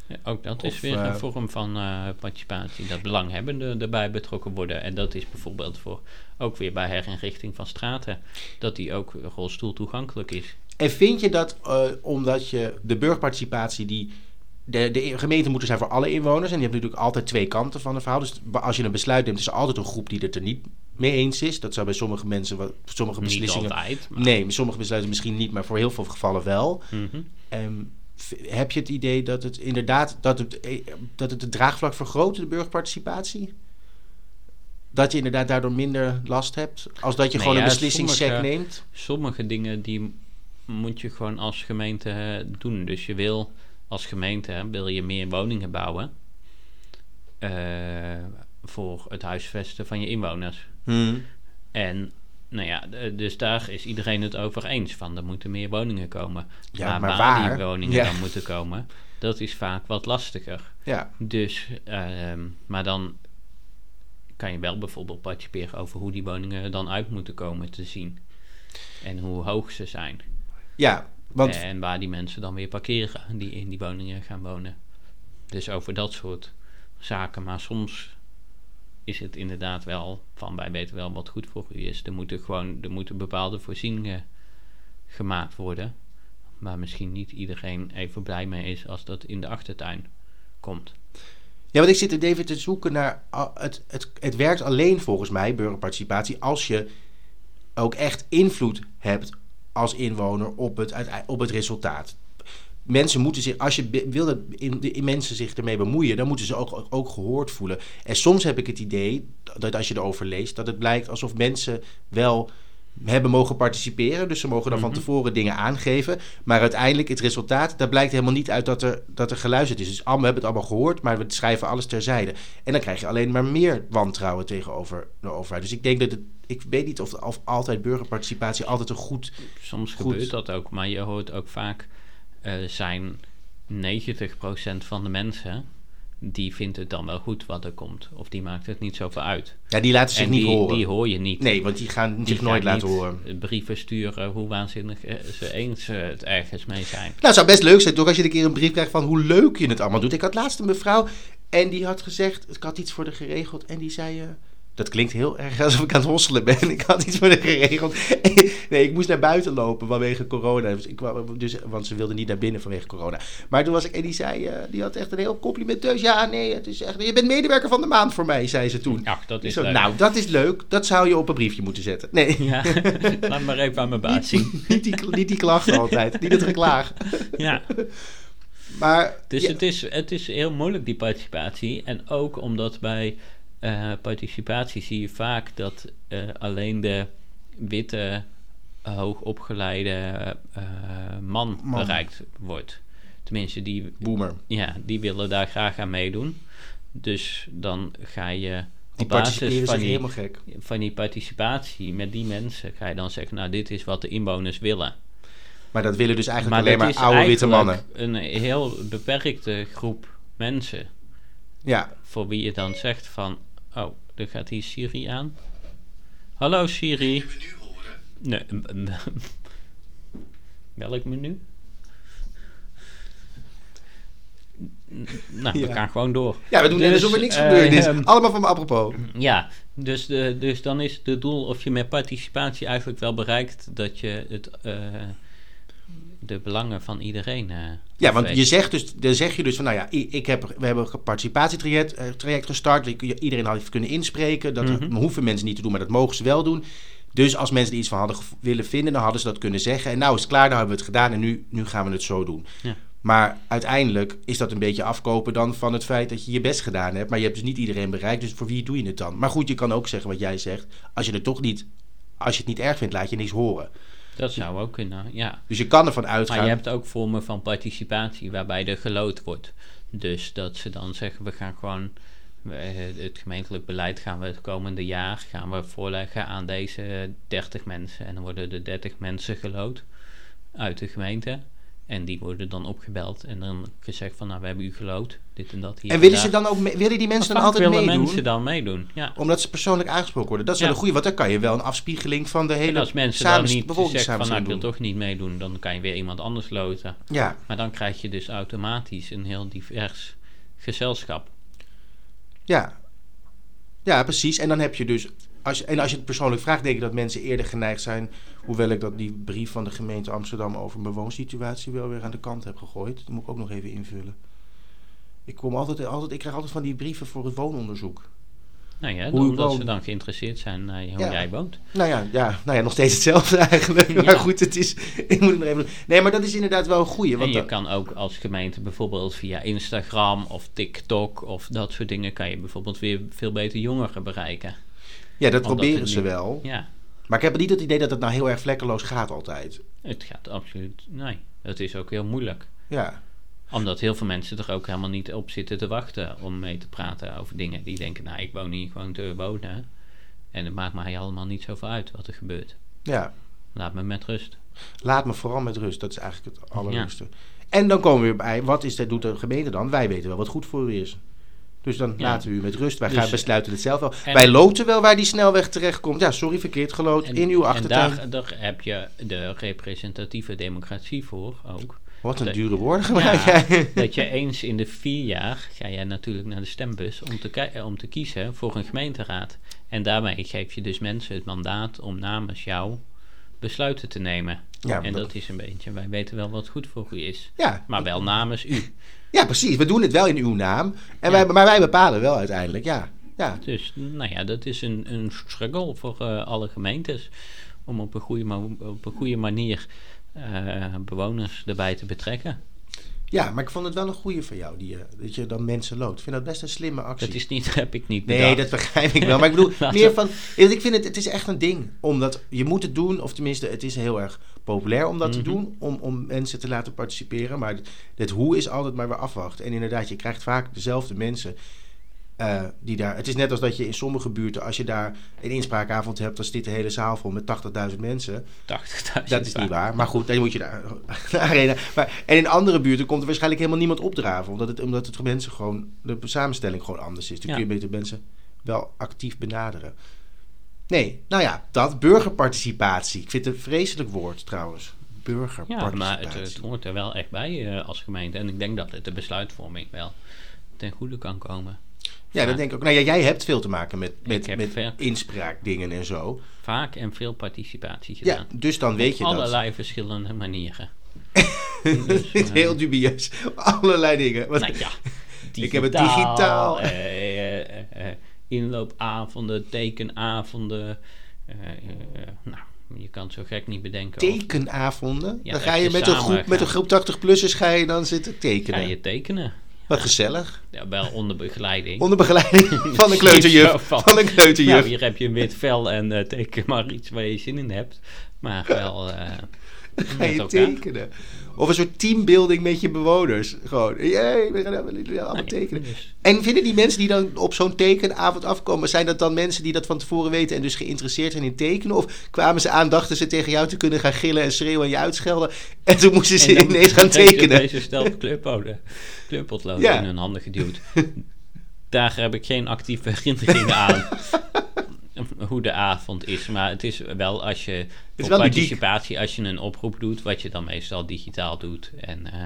Ja, ook dat
Of,
is weer
eh,
een vorm van eh, participatie, dat belanghebbenden erbij betrokken worden. En dat is bijvoorbeeld voor, ook weer bij herinrichting van straten, dat die ook rolstoel toegankelijk is.
En vind je dat eh, omdat je de burgerparticipatie die. De, de gemeenten moeten zijn voor alle inwoners. En je hebt natuurlijk altijd twee kanten van een verhaal. Dus ba- als je een besluit neemt, is er altijd een groep die het er niet mee eens is. Dat zou bij sommige mensen, wat, sommige
Niet
beslissingen.
altijd, maar...
nee, sommige besluiten misschien niet, maar voor heel veel gevallen wel.
Mhm.
Ehm, v- heb je het idee dat het inderdaad. Dat het, eh, dat het de draagvlak vergroot, de burgerparticipatie? Dat je inderdaad daardoor minder last hebt. Als dat je
Nee,
gewoon
ja,
een beslissingsset
sommige-
neemt.
sommige dingen die m- moet je gewoon als gemeente eh, doen. Dus je wil als gemeente hè, wil je meer woningen bouwen eh, voor het huisvesten van je inwoners. Hmm. En nou ja, d- dus daar is iedereen het over eens van. Er moeten meer woningen komen.
Ja, maar
maar
waar?
die woningen
Ja.
dan moeten komen, dat is vaak wat lastiger.
Ja.
Dus, ehm, maar dan kan je wel bijvoorbeeld participeren over hoe die woningen er dan uit moeten komen te zien. En hoe hoog ze zijn.
ja, want
En waar die mensen dan weer parkeren die in die woningen gaan wonen. Dus over dat soort zaken. Maar soms is het inderdaad wel van wij weten wel wat goed voor u is. Er moeten gewoon er moeten bepaalde voorzieningen gemaakt worden. Waar misschien niet iedereen even blij mee is als dat in de achtertuin komt.
Ja, want ik zit er even te zoeken naar. ah, Het, het, het werkt alleen volgens mij, burgerparticipatie, als je ook echt invloed hebt als inwoner op het, uitei- op het resultaat. Mensen moeten zich, als je be- wil dat in, in mensen zich ermee bemoeien, dan moeten ze ook, ook gehoord voelen. En soms heb ik het idee dat als je erover leest, dat het blijkt alsof mensen wel hebben mogen participeren. Dus ze mogen dan
Mhm.
van tevoren dingen aangeven. Maar uiteindelijk het resultaat, daar blijkt helemaal niet uit dat er, dat er geluisterd is. Dus allemaal, we hebben het allemaal gehoord, maar we schrijven alles terzijde. En dan krijg je alleen maar meer wantrouwen tegenover de overheid. Dus ik denk dat het, ik weet niet of, of altijd burgerparticipatie altijd een goed...
Soms
Goed.
gebeurt dat ook, maar je hoort ook vaak eh, zijn 90% van de mensen die vindt het dan wel goed wat er komt. Of die maakt het niet zoveel uit.
Ja, die laten zich niet
die,
horen.
die hoor je niet.
nee, want die gaan
Die
zich
gaan
nooit laten
niet
horen.
Brieven sturen hoe waanzinnig eh, ze eens eh, het ergens mee zijn.
Nou, het zou best leuk zijn toch als je een keer een brief krijgt van hoe leuk je het allemaal doet. Ik had laatst een mevrouw en die had gezegd, ik had iets voor de geregeld. En die zei, eh, dat klinkt heel erg alsof ik aan het hosselen ben. Ik had iets voor de geregeld. nee, ik moest naar buiten lopen vanwege corona. Dus ik, kwam- dus, want ze wilde niet naar binnen vanwege corona. Maar toen was ik, en die zei, eh, die had echt een heel complimenteus. Ja, nee, het is echt, je bent medewerker van de maand voor mij, zei ze toen.
Ach, dat
Ik
is
zo,
leuk.
nou, dat is leuk. Dat zou je op een briefje moeten zetten. Nee.
Ja, laat maar even aan mijn
Niet,
baas zien.
niet, die, niet die klachten altijd, niet het geklaag.
Ja,
Maar
dus
ja.
Het, is, het is heel moeilijk, die participatie. En ook omdat bij eh, participatie zie je vaak dat eh, alleen de witte, eh, hoogopgeleide eh man,
Man.
bereikt wordt. Tenminste, die,
Boomer.
ja, die willen daar graag aan meedoen. Dus dan ga je
Die
op basis
participeren
van
zijn
die,
helemaal gek.
van die participatie met die mensen... ga je dan zeggen, nou, dit is wat de inwoners willen.
Maar dat willen dus eigenlijk
dat
alleen maar
is
oude witte mannen.
eigenlijk Een heel beperkte groep mensen.
Ja,
Voor wie je dan zegt van. Oh, er gaat hier Siri aan. Hallo Siri.
we nu horen,
Nee. m- m- Welk menu? N- Nou,
Ja.
we gaan gewoon door.
ja we doen net
Dus,
alsof er niks
eh,
gebeurd is.
ehm,
Allemaal van me apropos.
Ja, dus, de, dus dan is het doel of je met participatie eigenlijk wel bereikt dat je het, eh, de belangen van iedereen. eh,
Ja, want
afweegt.
je zegt dus, dan zeg je dus van, nou ja, i- ik heb, we hebben een participatietraject eh, traject gestart. Ik- Iedereen had het kunnen inspreken. Dat
Mhm.
hoeven mensen niet te doen, maar dat mogen ze wel doen. Dus als mensen er iets van hadden gev- willen vinden, dan hadden ze dat kunnen zeggen. En nou is het klaar, nou hebben we het gedaan en nu, nu gaan we het zo doen.
Ja.
Maar uiteindelijk is dat een beetje afkopen dan van het feit dat je je best gedaan hebt. Maar je hebt dus niet iedereen bereikt, dus voor wie doe je het dan? Maar goed, je kan ook zeggen wat jij zegt. Als je, er toch niet, als je het niet erg vindt, laat je niks horen.
Dat zou ook kunnen, ja.
Dus je kan ervan uitgaan.
Maar je hebt ook vormen van participatie waarbij er geloot wordt. Dus dat ze dan zeggen, we gaan gewoon eh, het gemeentelijk beleid gaan we het komende jaar gaan we voorleggen aan deze 30 mensen. En dan worden er 30 mensen geloot uit de gemeente. En die worden dan opgebeld en dan gezegd van nou we hebben u geloot, dit en dat hier.
En willen, ze
daar.
dan ook, me- willen die mensen dan
Vaak
altijd
willen
meedoen?
mensen dan meedoen? Ja.
Omdat ze persoonlijk aangesproken worden. Dat is wel
Ja.
een goede, want dan kan je wel een afspiegeling van de
En
hele
als mensen dan
samens-
niet zeggen van nou ik
bevolkingssamenstelling
wil
doen.
toch niet meedoen, dan kan je weer iemand anders loten.
Ja,
Maar dan krijg je dus automatisch een heel divers gezelschap.
ja. ja, precies. En dan heb je dus. Als, je- en als je het persoonlijk vraagt, denk ik dat mensen eerder geneigd zijn. Hoewel ik dat die brief van de gemeente Amsterdam over mijn woonsituatie wel weer aan de kant heb gegooid. Dat moet ik ook nog even invullen. Ik, kom altijd, altijd, ik krijg altijd van die brieven voor het woononderzoek.
Nou ja,
Hoe je
omdat ze
woont.
dan geïnteresseerd zijn naar hoe
Ja.
jij woont.
Nou ja, ja, nou ja, nog steeds hetzelfde eigenlijk.
Ja.
Maar goed, het is, ik moet het nog even doen. Nee, maar dat is inderdaad wel een goeie.
en
Want
je
dan-
kan ook als gemeente bijvoorbeeld via Instagram of TikTok of dat soort dingen... kan je bijvoorbeeld weer veel beter jongeren bereiken.
ja, dat
omdat
proberen
het
ze
niet-
wel.
Ja,
Maar ik heb niet het idee dat het nou heel erg vlekkeloos gaat altijd.
het gaat absoluut... Nee, het is ook heel moeilijk.
Ja,
Omdat heel veel mensen er ook helemaal niet op zitten te wachten... om mee te praten over dingen. Die denken, nou, ik woon hier gewoon te wonen. En het maakt mij allemaal niet zoveel uit wat er gebeurt.
ja.
Laat me met rust.
Laat me vooral met rust. Dat is eigenlijk het allerliefste. En dan komen we weer bij, wat is, dat doet de gemeente dan? Wij weten wel wat goed voor u is. Dus dan
Ja.
laten we u met rust. Wij
Dus-
gaan besluiten het zelf wel.
En-
Wij loten wel waar die snelweg terechtkomt. Ja, sorry, verkeerd geloot.
En-
in uw achtertuin.
En daar, daar heb je de representatieve democratie voor ook.
wat een
de-
dure woorden gebruik
Ja.
jij.
Dat je eens in de vier jaar ga jij natuurlijk naar de stembus om te, ki- eh, om te kiezen voor een gemeenteraad. En daarmee geef je dus mensen het mandaat om namens jou besluiten te nemen.
Ja, maar
en
dat-
dat is een beetje, wij weten wel wat goed voor u is.
Ja,
Maar wel namens u.
ja, precies. We doen het wel in uw naam.
Ja.
En wij, maar wij bepalen wel uiteindelijk. Ja, ja.
Dus nou ja, dat is een, een struggle voor eh, alle gemeentes. om op een goede, mo- op een goede manier eh, bewoners erbij te betrekken.
Ja, maar ik vond het wel een goede van jou, die, eh, dat je dan mensen loodt. Ik vind dat best een slimme actie.
Dat is niet, heb ik niet
Nee,
bedacht. Nou,
dat begrijp ik wel. Maar ik bedoel,
Laten
meer
we-
van. Ik vind het, het is echt een ding. Omdat je moet het doen, of tenminste, het is heel erg populair om dat te
Mhm.
doen. Om, om mensen te laten participeren. Maar het, het hoe is altijd maar weer afwachten. En inderdaad, je krijgt vaak dezelfde mensen. eh, die daar, het is net als dat je in sommige buurten, als je daar een inspraakavond hebt, dan zit de hele zaal vol met 80.000 mensen.
80.000
Dat is niet
vragen.
waar. Maar goed, dan moet je naar de arena. Maar, en in andere buurten komt er waarschijnlijk helemaal niemand opdraven. Omdat het, omdat het voor mensen gewoon, de samenstelling gewoon anders is. Dan
Ja.
kun je beter mensen wel actief benaderen. Nee, nou ja, dat burgerparticipatie. Ik vind het een vreselijk woord trouwens.
Ja,
Burgerparticipatie.
maar het, eh, het hoort er wel echt bij eh, als gemeente. En ik denk dat het de besluitvorming wel ten goede kan komen.
ja, dat denk ik ook. Nou ja, jij hebt veel te maken met, met,
heb
met
veel.
inspraakdingen en zo.
Vaak en veel participatie
Ja,
gedaan.
dus dan weet je dat.
Allerlei verschillende manieren.
Het is heel dubieus. Allerlei dingen. Wat-
Nou ja,
Ik heb het digitaal.
eh, eh, eh, eh, inloopavonden, tekenavonden. eh, eh, eh, nou, je kan het zo gek niet bedenken. of
tekenavonden.
Ja,
dan
dat
ga je
je
met een,
samen
groep, met een
gaat.
groep 80-plussers ga je dan zitten
ga
tekenen.
je tekenen?
Wat gezellig.
Ja, wel onder begeleiding.
Onder begeleiding van
Zo
een kleuterjuf.
van-
Van een
Nou,
kleuterjuf.
hier heb je een wit vel en eh, teken maar iets waar je zin in hebt. Maar wel eh
Ga
met
je
elkaar.
tekenen. Of een soort teambuilding met je bewoners. Gewoon, jee, we gaan allemaal- allemaal
Nee,
tekenen.
dus-
En vinden die mensen die dan op zo'n tekenavond afkomen... zijn dat dan mensen die dat van tevoren weten... en dus geïnteresseerd zijn in tekenen? Of kwamen ze aan, dachten ze tegen jou te kunnen gaan gillen en schreeuwen en je uitschelden... en toen moesten ze
En dan
ineens gaan
kreeg je dus-
tekenen?
Deze stel oh, kleurpoden, kleurpotloden
Ja.
in hun handen geduwd. Daar heb ik geen actieve herinnering aan. Hoe de avond is. Maar het is wel als je.
is
voor
wel ludiek.
participatie, als je een oproep doet. wat je dan meestal digitaal doet. En eh,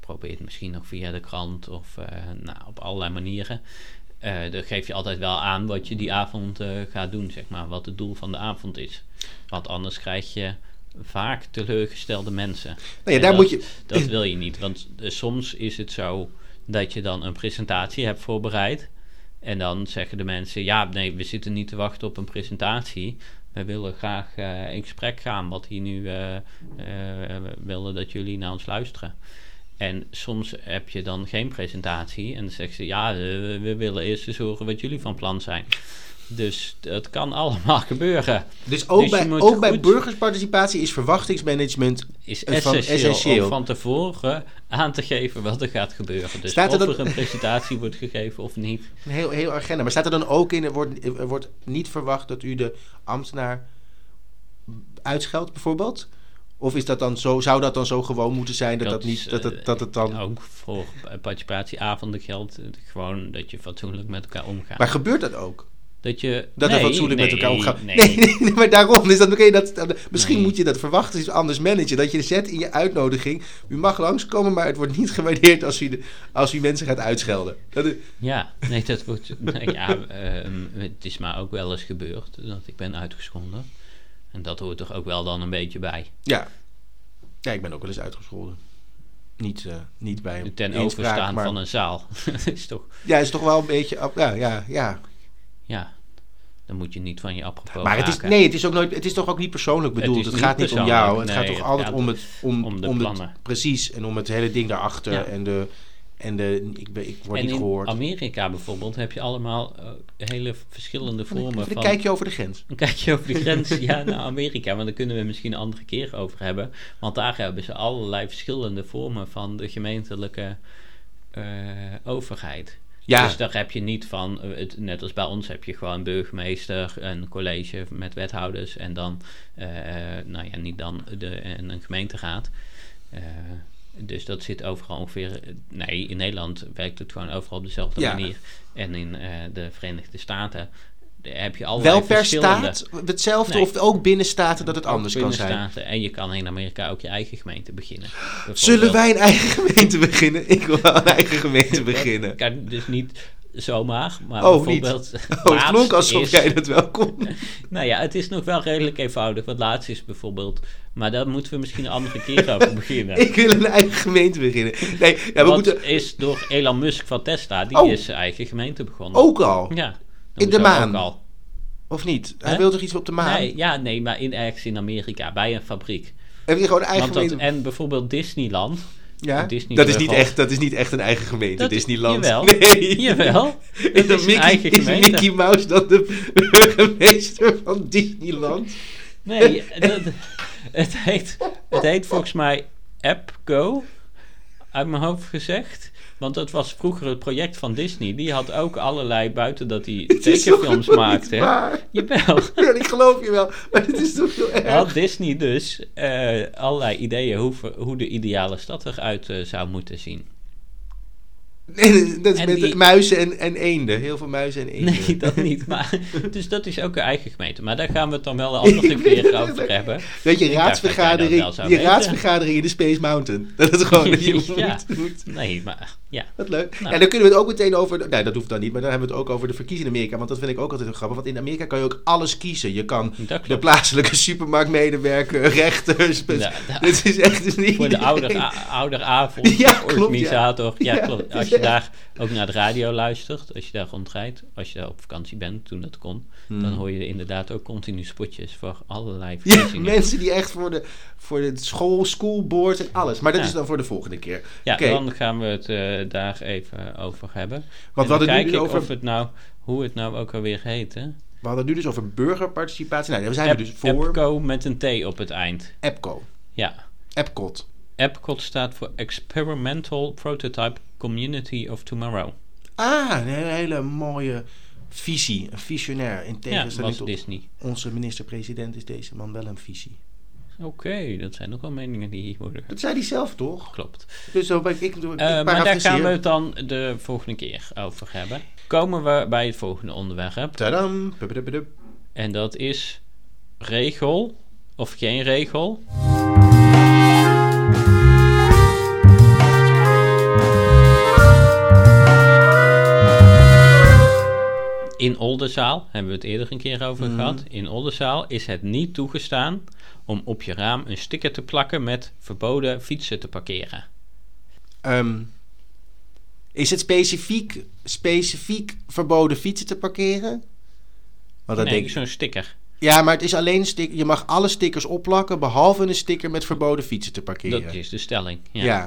probeert misschien nog via de krant of eh, nou, op allerlei manieren. Eh dan geef je altijd wel aan wat je die avond eh, gaat doen, zeg maar. Wat het doel van de avond is. Want anders krijg je vaak teleurgestelde mensen.
Nou ja,
En
daar
dat,
moet je...
dat wil je niet, want eh, soms is het zo dat je dan een presentatie hebt voorbereid. En dan zeggen de mensen: Ja, nee, we zitten niet te wachten op een presentatie. We willen graag eh, in gesprek gaan, wat hier nu eh, eh, we willen dat jullie naar ons luisteren. En soms heb je dan geen presentatie en dan zeggen ze: Ja, eh, we, we willen eerst eens horen wat jullie van plan zijn. Dus dat kan allemaal gebeuren.
Dus ook,
Dus je
bij,
moet
ook bij
goed-
burgersparticipatie is verwachtingsmanagement.
is
Het van
essentieel,
essentieel.
om van tevoren aan te geven wat er gaat gebeuren. Dus
Staat er
of er,
dan-
een presentatie wordt gegeven of niet.
Een heel, heel agenda. Maar staat er dan ook in, er wordt, er wordt niet verwacht dat u de ambtenaar uitscheldt, bijvoorbeeld? Of is dat dan zo, zou dat dan zo gewoon moeten zijn dat, dat,
is,
niet, dat,
eh,
het, dat het dan...
Ook voor participatieavonden geldt eh, gewoon dat je fatsoenlijk met elkaar omgaat.
Maar gebeurt dat ook?
dat je
Dat
nee,
we fatsoenlijk met
nee,
elkaar omgaan?
Nee,
nee, nee, maar daarom. Dus dan kun je dat, dan- misschien
Nee.
moet je dat verwachten, iets anders managen. Dat je zet in je uitnodiging, u mag langskomen, maar het wordt niet gewaardeerd als u, de, als u mensen gaat uitschelden. Dat is,
Ja, nee, dat wordt. nou ja, ehm, het is maar ook wel eens gebeurd dat ik ben uitgeschonden. En dat hoort toch ook wel dan een beetje bij.
Ja. Ja, ik ben ook wel eens uitgescholden. Niet, eh, niet bij een
Ten
inspraak,
overstaan
maar-
van een zaal. dat is toch.
Ja, is toch wel een beetje... ap- Ja, ja, ja.
Ja, dan moet je niet van je apropos
Maar het is,
raken.
nee, het is, ook nooit, het is toch ook niet persoonlijk bedoeld.
is
Het,
niet
gaat niet om jou.
persoonlijk.
Het
Nee,
gaat toch
het
altijd
gaat dus
om, het, om,
om de
het-
plannen.
precies, en om het hele ding daarachter.
Ja.
En, de, en de, ik, ben- ik word
en
niet
in
gehoord.
Amerika bijvoorbeeld heb je allemaal eh, hele verschillende vormen
Even
van...
een kijkje over de grens.
Een kijkje over de grens ja, naar Amerika, want daar kunnen we misschien een andere keer over hebben. Want daar hebben ze allerlei verschillende vormen van de gemeentelijke eh, overheid.
Ja.
Dus daar heb je niet van, eh, het, net als bij ons heb je gewoon burgemeester, een college met wethouders en dan, eh, nou ja, niet dan de, en een gemeenteraad. Eh, dus dat zit overal ongeveer. Nee, in Nederland werkt het gewoon overal op dezelfde
Ja.
manier. En in eh, de Verenigde Staten daar heb je allerlei
Wel per
verschillende
staat hetzelfde
Nee.
of ook binnen staten dat het
ook
anders kan zijn.
binnenstaten. En je kan in Amerika ook je eigen gemeente beginnen. Bijvoorbeeld.
Zullen wij een eigen gemeente beginnen? Ik wil een eigen gemeente beginnen.
Kan dus niet zomaar, maar
Oh,
bijvoorbeeld...
Oh, het
laatst
klonk alsof
is-
jij dat wel kon.
Nou ja, het is nog wel redelijk eenvoudig. Wat laatst is bijvoorbeeld... Maar daar moeten we misschien een andere keer over beginnen.
Ik wil een eigen gemeente beginnen. Nee, ja, we
Wat
moeten
is door Elon Musk van Tesla, die
Oh.
is zijn eigen gemeente begonnen.
ook al.
Ja.
In de
hoezo
maan.
Ook al.
Of niet? Hij
Hè?
wil toch iets op de maan?
Nee, ja, nee, maar in, ergens in Amerika, bij een fabriek.
Heb je gewoon eigen
Want dat,
gemeente?
en bijvoorbeeld Disneyland.
Ja?
Disney
dat, is niet
World.
echt, dat is niet echt een eigen gemeente,
Dat is-
Disneyland.
jawel.
Nee.
Jawel, dat
Is,
is
dat
een
Mickey,
eigen
is
gemeente.
Mickey Mouse dan de burgemeester van Disneyland?
Nee, dat, het, heet, het heet volgens mij AppCo, uit mijn hoofd gezegd. Want dat was vroeger het project van Disney. Die had ook allerlei, buiten dat hij
Het is toch
tekenfilms
helemaal niet
maakte.
waar?
Jawel.
Ja, ik geloof je wel, maar dit is toch heel erg.
Had Disney dus eh, allerlei ideeën hoe, ver- hoe de ideale stad eruit eh, zou moeten zien.
Nee, dat is
En
met
die-
muizen en, en eenden. Heel veel muizen en eenden.
Nee, dat niet. Maar, dus dat is ook een eigen gemeente. Maar daar gaan we het dan wel een andere keer over hebben.
Dat je
Ik dacht dat jij dat wel
raadsvergadering,
zou
je
weten.
raadsvergadering in de Space Mountain. Dat is gewoon dat je
Ja.
moet, moet.
Nee, maar ja.
Wat leuk.
Nou.
En dan kunnen we het ook meteen over. Nee, dat hoeft dan niet. Maar dan hebben we het ook over de verkiezingen in Amerika. Want dat vind ik ook altijd heel grappig. Want in Amerika kan je ook alles kiezen. Je kan
Dat
de
klopt.
plaatselijke supermarktmedewerker, rechters.
Ja, ja.
Dit is echt dus niet.
Voor de ouder,
iedereen.
a- ouderavond,
Ja, klopt, ja.
organisator. Ja,
Ja,
klopt.
het
Als
is
je
echt-
daar ook naar de radio luistert, als je daar rondrijdt, als je daar op vakantie bent, toen dat kon, dan hoor je inderdaad ook continu spotjes voor allerlei
Hmm. Ja,
verkiezingen.
mensen die echt voor de, voor de school, schoolboard en alles. Maar dat
Ja.
is dan voor de volgende keer.
Ja,
Oké.
dan gaan we het eh, daar even over hebben.
Want we
en dan
hadden, nu
kijk
dus
ik
over,
of het nou, hoe het nou ook alweer heet, hè?
we hadden nu dus over burgerparticipatie. Nou, daar zijn
App-
we dus voor.
Appco met een T op het eind.
Epco.
Ja.
Epcot.
Appcot staat voor Experimental Prototype Community of Tomorrow.
Ah, een hele, hele mooie visie. Een visionair. In
Ja,
tegenstelling
was dus.
tot
Disney.
onze minister-president is deze man wel een visie.
Oké, dat zijn ook wel meningen die hier worden.
Dat zei hij zelf toch?
Klopt.
Dus zo ben ik, ik, ik
Eh, maar daar gaan we
parafraseer.
het dan de volgende keer over hebben. Komen we bij het volgende onderwerp.
Tadam. Pubbedubbedub.
En dat is regel of geen regel. In Oldenzaal, hebben we het eerder een keer
Mhm.
over gehad. In Oldenzaal is het niet toegestaan om op je raam een sticker te plakken met verboden fietsen te parkeren.
Ehm, is het specifiek, specifiek verboden fietsen te parkeren? Want dat
nee,
denk ik.
zo'n sticker.
Ja, maar het is alleen stik. Je mag alle stickers opplakken, behalve een sticker met verboden fietsen te parkeren.
Dat is de stelling. Ja.
ja.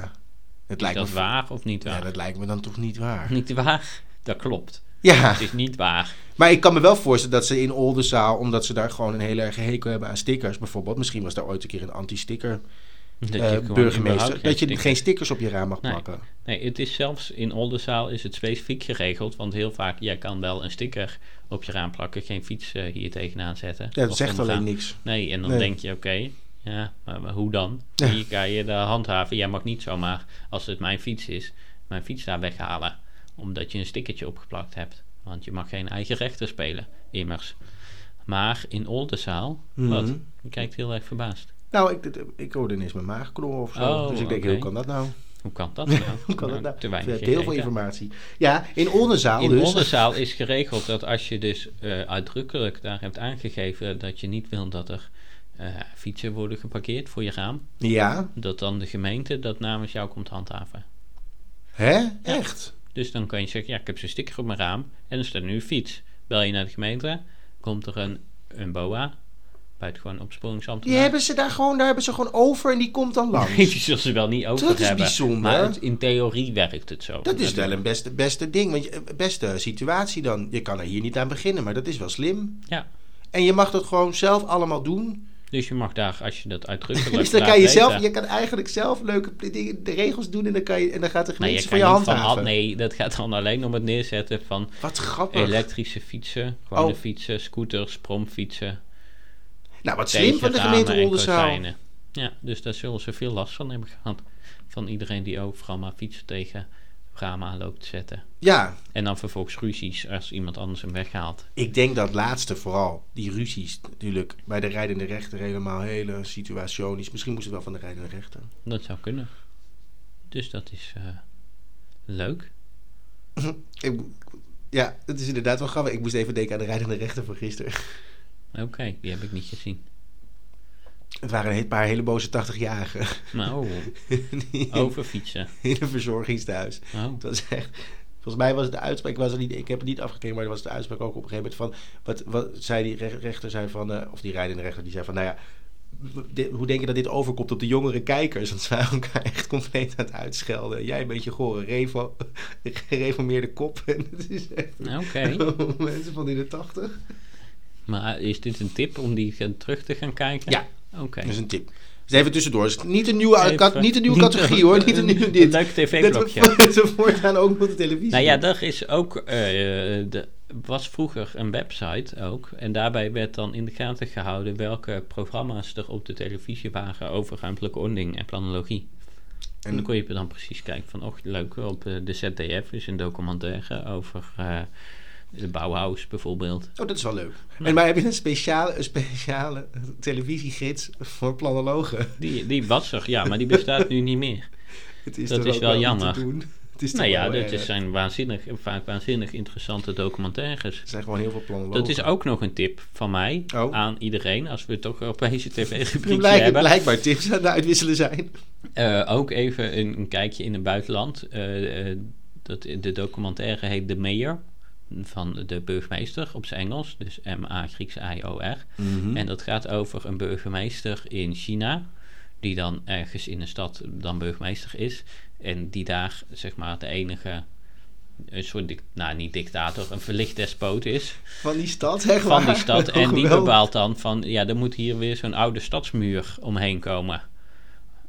Het
Is
lijkt
dat
me,
waar Hm. of niet waar?
ja, dat lijkt me dan toch niet waar.
Niet waar? Dat klopt.
Ja.
Het is niet waar.
Maar ik kan me wel voorstellen dat ze in Oldenzaal, omdat ze daar gewoon een hele erge hekel hebben aan stickers bijvoorbeeld. Misschien was daar ooit een keer een anti-sticker
Dat
eh,
gewoon überhaupt
burgemeester.
geen
Dat je
stick-
geen stickers op je raam mag
Nee.
plakken.
Nee, het is zelfs in Oldenzaal is het specifiek geregeld. Want heel vaak, jij kan wel een sticker op je raam plakken. Geen fiets eh, hier tegenaan zetten.
Ja, dat
Of
zegt
omgaan.
alleen niks.
Nee, en dan
Nee.
denk je, oké, ja, maar, maar hoe dan?
Ja.
Hier kan je de handhaven. Jij mag niet zomaar, als het mijn fiets is, mijn fiets daar weghalen. Omdat je een stickertje opgeplakt hebt. Want je mag geen eigen rechter spelen, immers. Maar in Oldenzaal, wat?
Mhm.
Je kijkt heel erg verbaasd.
Nou, ik, ik hoorde ineens mijn maag knorren of zo.
Oh,
dus ik denk,
oké.
hoe kan dat nou?
Hoe kan dat nou?
Hoe kan dat nou?
Te
We
weinig
hebben heel veel
gegeten.
informatie. Ja, in Oldenzaal
In
dus.
Oldenzaal is geregeld dat als je dus eh, uitdrukkelijk daar hebt aangegeven dat je niet wil dat er eh, fietsen worden geparkeerd voor je raam,
Ja,
dat dan de gemeente dat namens jou komt handhaven.
hè? Echt?
Dus dan kan je zeggen, ja, ik heb zo'n sticker op mijn raam en er staat nu een fiets. Bel je naar de gemeente, komt er een, een boa, buitengewoon
Die
opsporingsambtenaar.
hebben ze daar gewoon, daar hebben ze gewoon over en die komt dan langs.
Die zullen ze wel niet over
Dat is
hebben.
bijzonder.
Maar het- in theorie werkt het zo.
Dat is wel een beste, beste ding, want je, beste situatie dan. Je kan er hier niet aan beginnen, maar dat is wel slim.
Ja.
En je mag dat gewoon zelf allemaal doen.
Dus je mag daar, als je dat uitdrukkelijk
Dus dan
laat
kan je
weten-
zelf, je kan eigenlijk zelf leuke pl- dingen- de regels doen en dan, kan je, en dan gaat de
Nee,
gemeente
je
ze
kan
voor je
niet van
handhaven.
al, nee, dat gaat dan alleen om het neerzetten van
Wat grappig.
elektrische fietsen, gewone
Oh.
fietsen, scooters, promfietsen,
nou, wat slim van de
tegenramen
gemeente
en
Oldenzaal.
kozijnen. Ja, dus daar zullen ze veel last van hebben gehad. Van iedereen die overal maar fietsen tegen ramen aan loopt te zetten.
Ja,
En dan vervolgens ruzies als iemand anders hem weghaalt.
ik denk dat laatste vooral, die ruzies natuurlijk, bij de rijdende rechter helemaal hele situationisch. Misschien moest het wel van de rijdende rechter.
Dat zou kunnen. Dus dat is eh, leuk.
Ik- ja, dat is inderdaad wel grappig. Ik moest even denken aan de rijdende rechter van gisteren.
Oké, die heb ik niet gezien.
Het waren een paar hele boze 80-jarigen.
Maar oh,
Die-
over fietsen.
in een verzorgingstehuis.
Oh.
Het was echt, Volgens mij was de uitspraak, was er niet, ik heb het niet afgekeken, maar er was de uitspraak ook op een gegeven moment van, wat, wat zei die re- rechter, zei van, eh, of die rijdende rechter, die zei van, nou ja, dit- hoe denk je dat dit overkomt op de jongere kijkers? Want ze waren elkaar echt compleet aan het uitschelden. Jij een beetje gore revo, gereformeerde kop. En het is echt...
Nou, Oké.
Mensen van in de tachtig.
Maar is dit een tip om die gaan- terug te gaan kijken?
Ja.
Oké.
Dat is een tip. Dus even tussendoor. Dus niet een nieuwe,
Even-
kat- niet een nieuwe
niet
categorie
een-
hoor. Niet een nieuwe dit.
leuk
Dat
tv-blokje.
we ze voortaan ook op de televisie.
Nou ja, daar is ook. eh, de, was vroeger een website ook. En daarbij werd dan in de gaten gehouden welke programma's er op de televisie waren over ruimtelijke ordening en planologie. En dan kon je dan precies kijken van, och leuk, op eh, de ZDF is een documentaire over eh, de Bauhaus bijvoorbeeld.
Oh, dat is wel leuk. En maar heb je een speciale, een speciale televisiegids voor planologen?
Die, die was er, ja, maar die bestaat nu niet meer.
Het is
Dat
toch
is
ook
wel
om te
jammer.
doen? Het is toch
Nou ja,
wel eh,
dat
erg.
is- zijn waanzinnig, vaak waanzinnig interessante documentaires.
Er zijn gewoon heel veel planologen.
Dat is ook nog een tip van mij
Oh.
aan iedereen, als we het toch op deze
Nu
tv-rubriekje
blijken
hebben.
blijkbaar tips aan het uitwisselen zijn.
Eh, ook even een, een kijkje in het buitenland. Eh, eh, dat, de documentaire heet The Mayor, van de burgemeester op zijn Engels, dus M-A Grieks I-O-R.
Hm.
En dat gaat over een burgemeester in China, die dan ergens in een stad dan burgemeester is. En die daar, zeg maar, de enige, een soort, dic- nou niet dictator, een verlicht despoot is
Van die stad, zeg
van die
maar.
stad.
Oh,
En die
geweldig.
bepaalt dan van, ja, er moet hier weer zo'n oude stadsmuur omheen komen.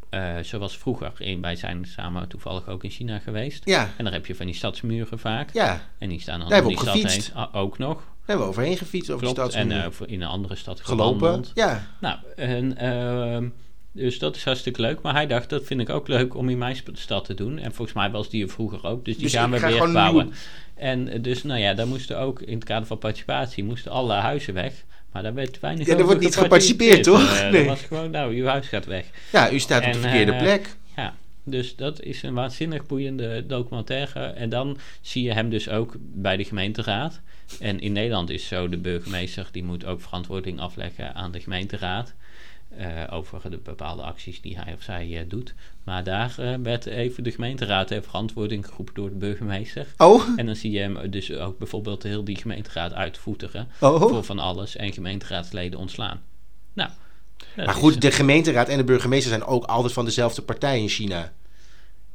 Eh, zoals vroeger. En wij zijn samen toevallig ook in China geweest.
Ja,
En daar heb je van die stadsmuren vaak.
ja.
En die staan dan
Daar
om
hebben
die
we op
stad
gefietst.
heen. Ah, ook nog.
Daar hebben we overheen gefietst over de
Klopt.
stad.
En eh, voor- in een andere stad
gelopen.
gewandeld.
Ja.
Nou, en, ehm, dus dat is hartstikke leuk. Maar hij dacht, dat vind ik ook leuk om in mijn sp- stad te doen. En volgens mij was die er vroeger ook. Dus die
Dus
gaan
ik
we
ga
weer
gewoon
bouwen.
nieuw-
En eh, dus, nou ja, daar moesten ook in het kader van participatie moesten alle huizen weg. Maar daar werd weinig
Ja, er
over
wordt niet geparticipeerd, toch?
Eh,
Nee.
Er was gewoon, nou, uw huis gaat weg.
ja, u staat op
En,
de verkeerde
eh,
plek.
Ja, dus dat is een waanzinnig boeiende documentaire. En dan zie je hem dus ook bij de gemeenteraad. En in Nederland is zo de burgemeester, die moet ook verantwoording afleggen aan de gemeenteraad. eh, over de bepaalde acties die hij of zij eh, doet. Maar daar eh, werd even de gemeenteraad ter verantwoording geroepen door de burgemeester.
Oh,
En dan zie je hem dus ook bijvoorbeeld heel die gemeenteraad uitvoeteren. Voor
oh.
van alles en gemeenteraadsleden ontslaan. Nou, dat
Maar
is,
goed, de gemeenteraad en de burgemeester zijn ook altijd van dezelfde partij in China.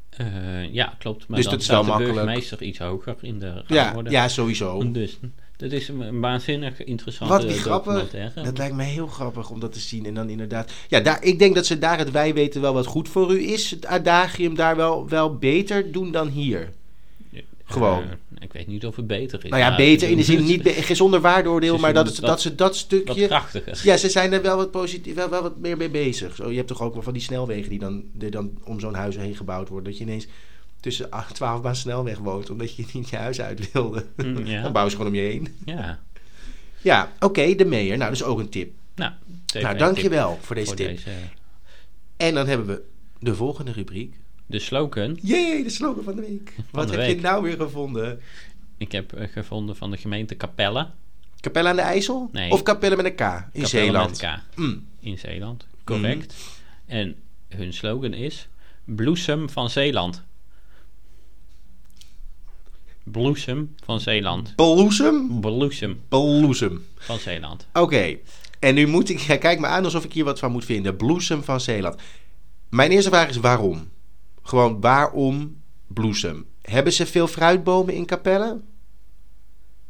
Eh, ja, klopt. Maar
Dus
dan
dat is
staat
wel
de
makkelijk.
burgemeester iets hoger in de
Ja,
rangorde.
ja sowieso.
Dus dat is een, een waanzinnig interessante
Wat die grappig.
documentaire.
Dat lijkt me heel grappig om dat te zien. En dan inderdaad. Ja, daar, ik denk dat ze daar het wij weten wel wat goed voor u is. Het adagium daar wel, wel beter doen dan hier. Gewoon.
Eh, ik weet niet of het beter is.
nou ja,
maar
beter in de zin
het
niet be- geen zonder waardeoordeel,
Ze
maar
doen
dat, ze-
dat-
dat ze dat
is Wat
stukje.
krachtiger.
Ja, ze zijn er wel wat, positief, wel, wel wat meer mee bezig. Zo, je hebt toch ook wel van die snelwegen die dan, die dan om zo'n huis heen gebouwd worden. Dat je ineens tussen 8, 12 baan snelweg woont, omdat je niet je huis uit wilde.
Mm,
Dan
ja.
bouwen ze gewoon om je heen.
ja.
Ja, oké, de meer. Nou, dat is ook een tip.
Nou,
nou, dankjewel voor deze
Voor
tip.
deze, eh,
En dan hebben we de volgende rubriek.
de slogan.
Jee, de slogan van de week. Wat
de
heb je
week.
nou weer gevonden?
Ik heb eh, gevonden van de gemeente Capelle.
Capelle aan de IJssel?
Nee.
Of Capelle met een K in Zeeland?
Met K.
Mm.
in Zeeland. Correct. En hun slogan is: Bloesem van Zeeland. Bloesem van Zeeland.
Bloesem?
Bloesem
Bloesem.
van Zeeland.
Oké. En nu moet ik... ja, kijk me aan alsof ik hier wat van moet vinden. Bloesem van Zeeland. Mijn eerste vraag is waarom? Gewoon waarom bloesem? Hebben ze veel fruitbomen in Capelle?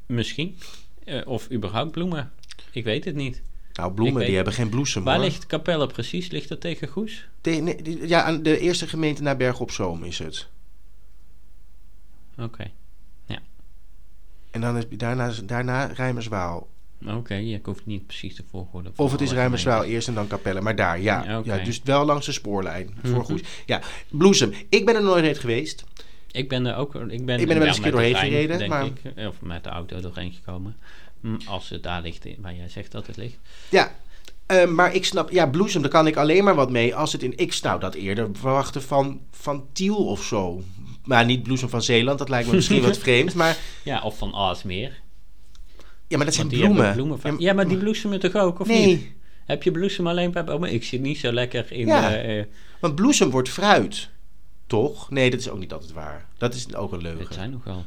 Misschien. Eh, of überhaupt bloemen. Ik weet het niet.
Nou,
Ik
bloemen,
weet-
die hebben geen bloesem,
Waar
hoor.
ligt Capelle precies? Ligt dat tegen Goes?
Te- nee, die- ja, aan de eerste gemeente naar Berg op Zoom is het.
Oké.
En dan is, daarna, daarna Rijmerswaal.
Oké, ik hoef niet precies de volgorde. van
Of het is
alle
Rijmerswaal
gemeentes.
eerst en dan Capelle. Maar daar, ja.
Ja, oké. Mhm.
ja dus wel langs de spoorlijn. Voor goed. Ja, Bloesem. Ik ben er nooit net geweest.
Ik ben er ook. Ik ben,
Ik ben er wel
ja,
eens een keer
met de
doorheen
trein,
gereden,
denk
maar-
ik. eh, Of met de auto doorheen gekomen. Hm, Als het daar ligt, waar jij zegt dat het ligt.
Ja. Eh, maar ik snap, ja, Bloesem, daar kan ik alleen maar wat mee als het in. Ik zou dat eerder verwachten van, van Tiel of zo. Maar niet Bloesem van Zeeland, dat lijkt me misschien wat vreemd. Maar
Ja, of van Aalsmeer.
ja, maar dat zijn
Want die
bloemen.
hebben bloemen van-
Ja,
Ja, maar die bloesemen toch ook, of
nee,
niet? Heb je bloesem alleen bij bomen? Ik zit niet zo lekker in...
Ja.
eh, eh,
want bloesem wordt fruit. Toch? Nee, dat is ook niet altijd waar. Dat is ook een
Het
leugen.
zijn nogal.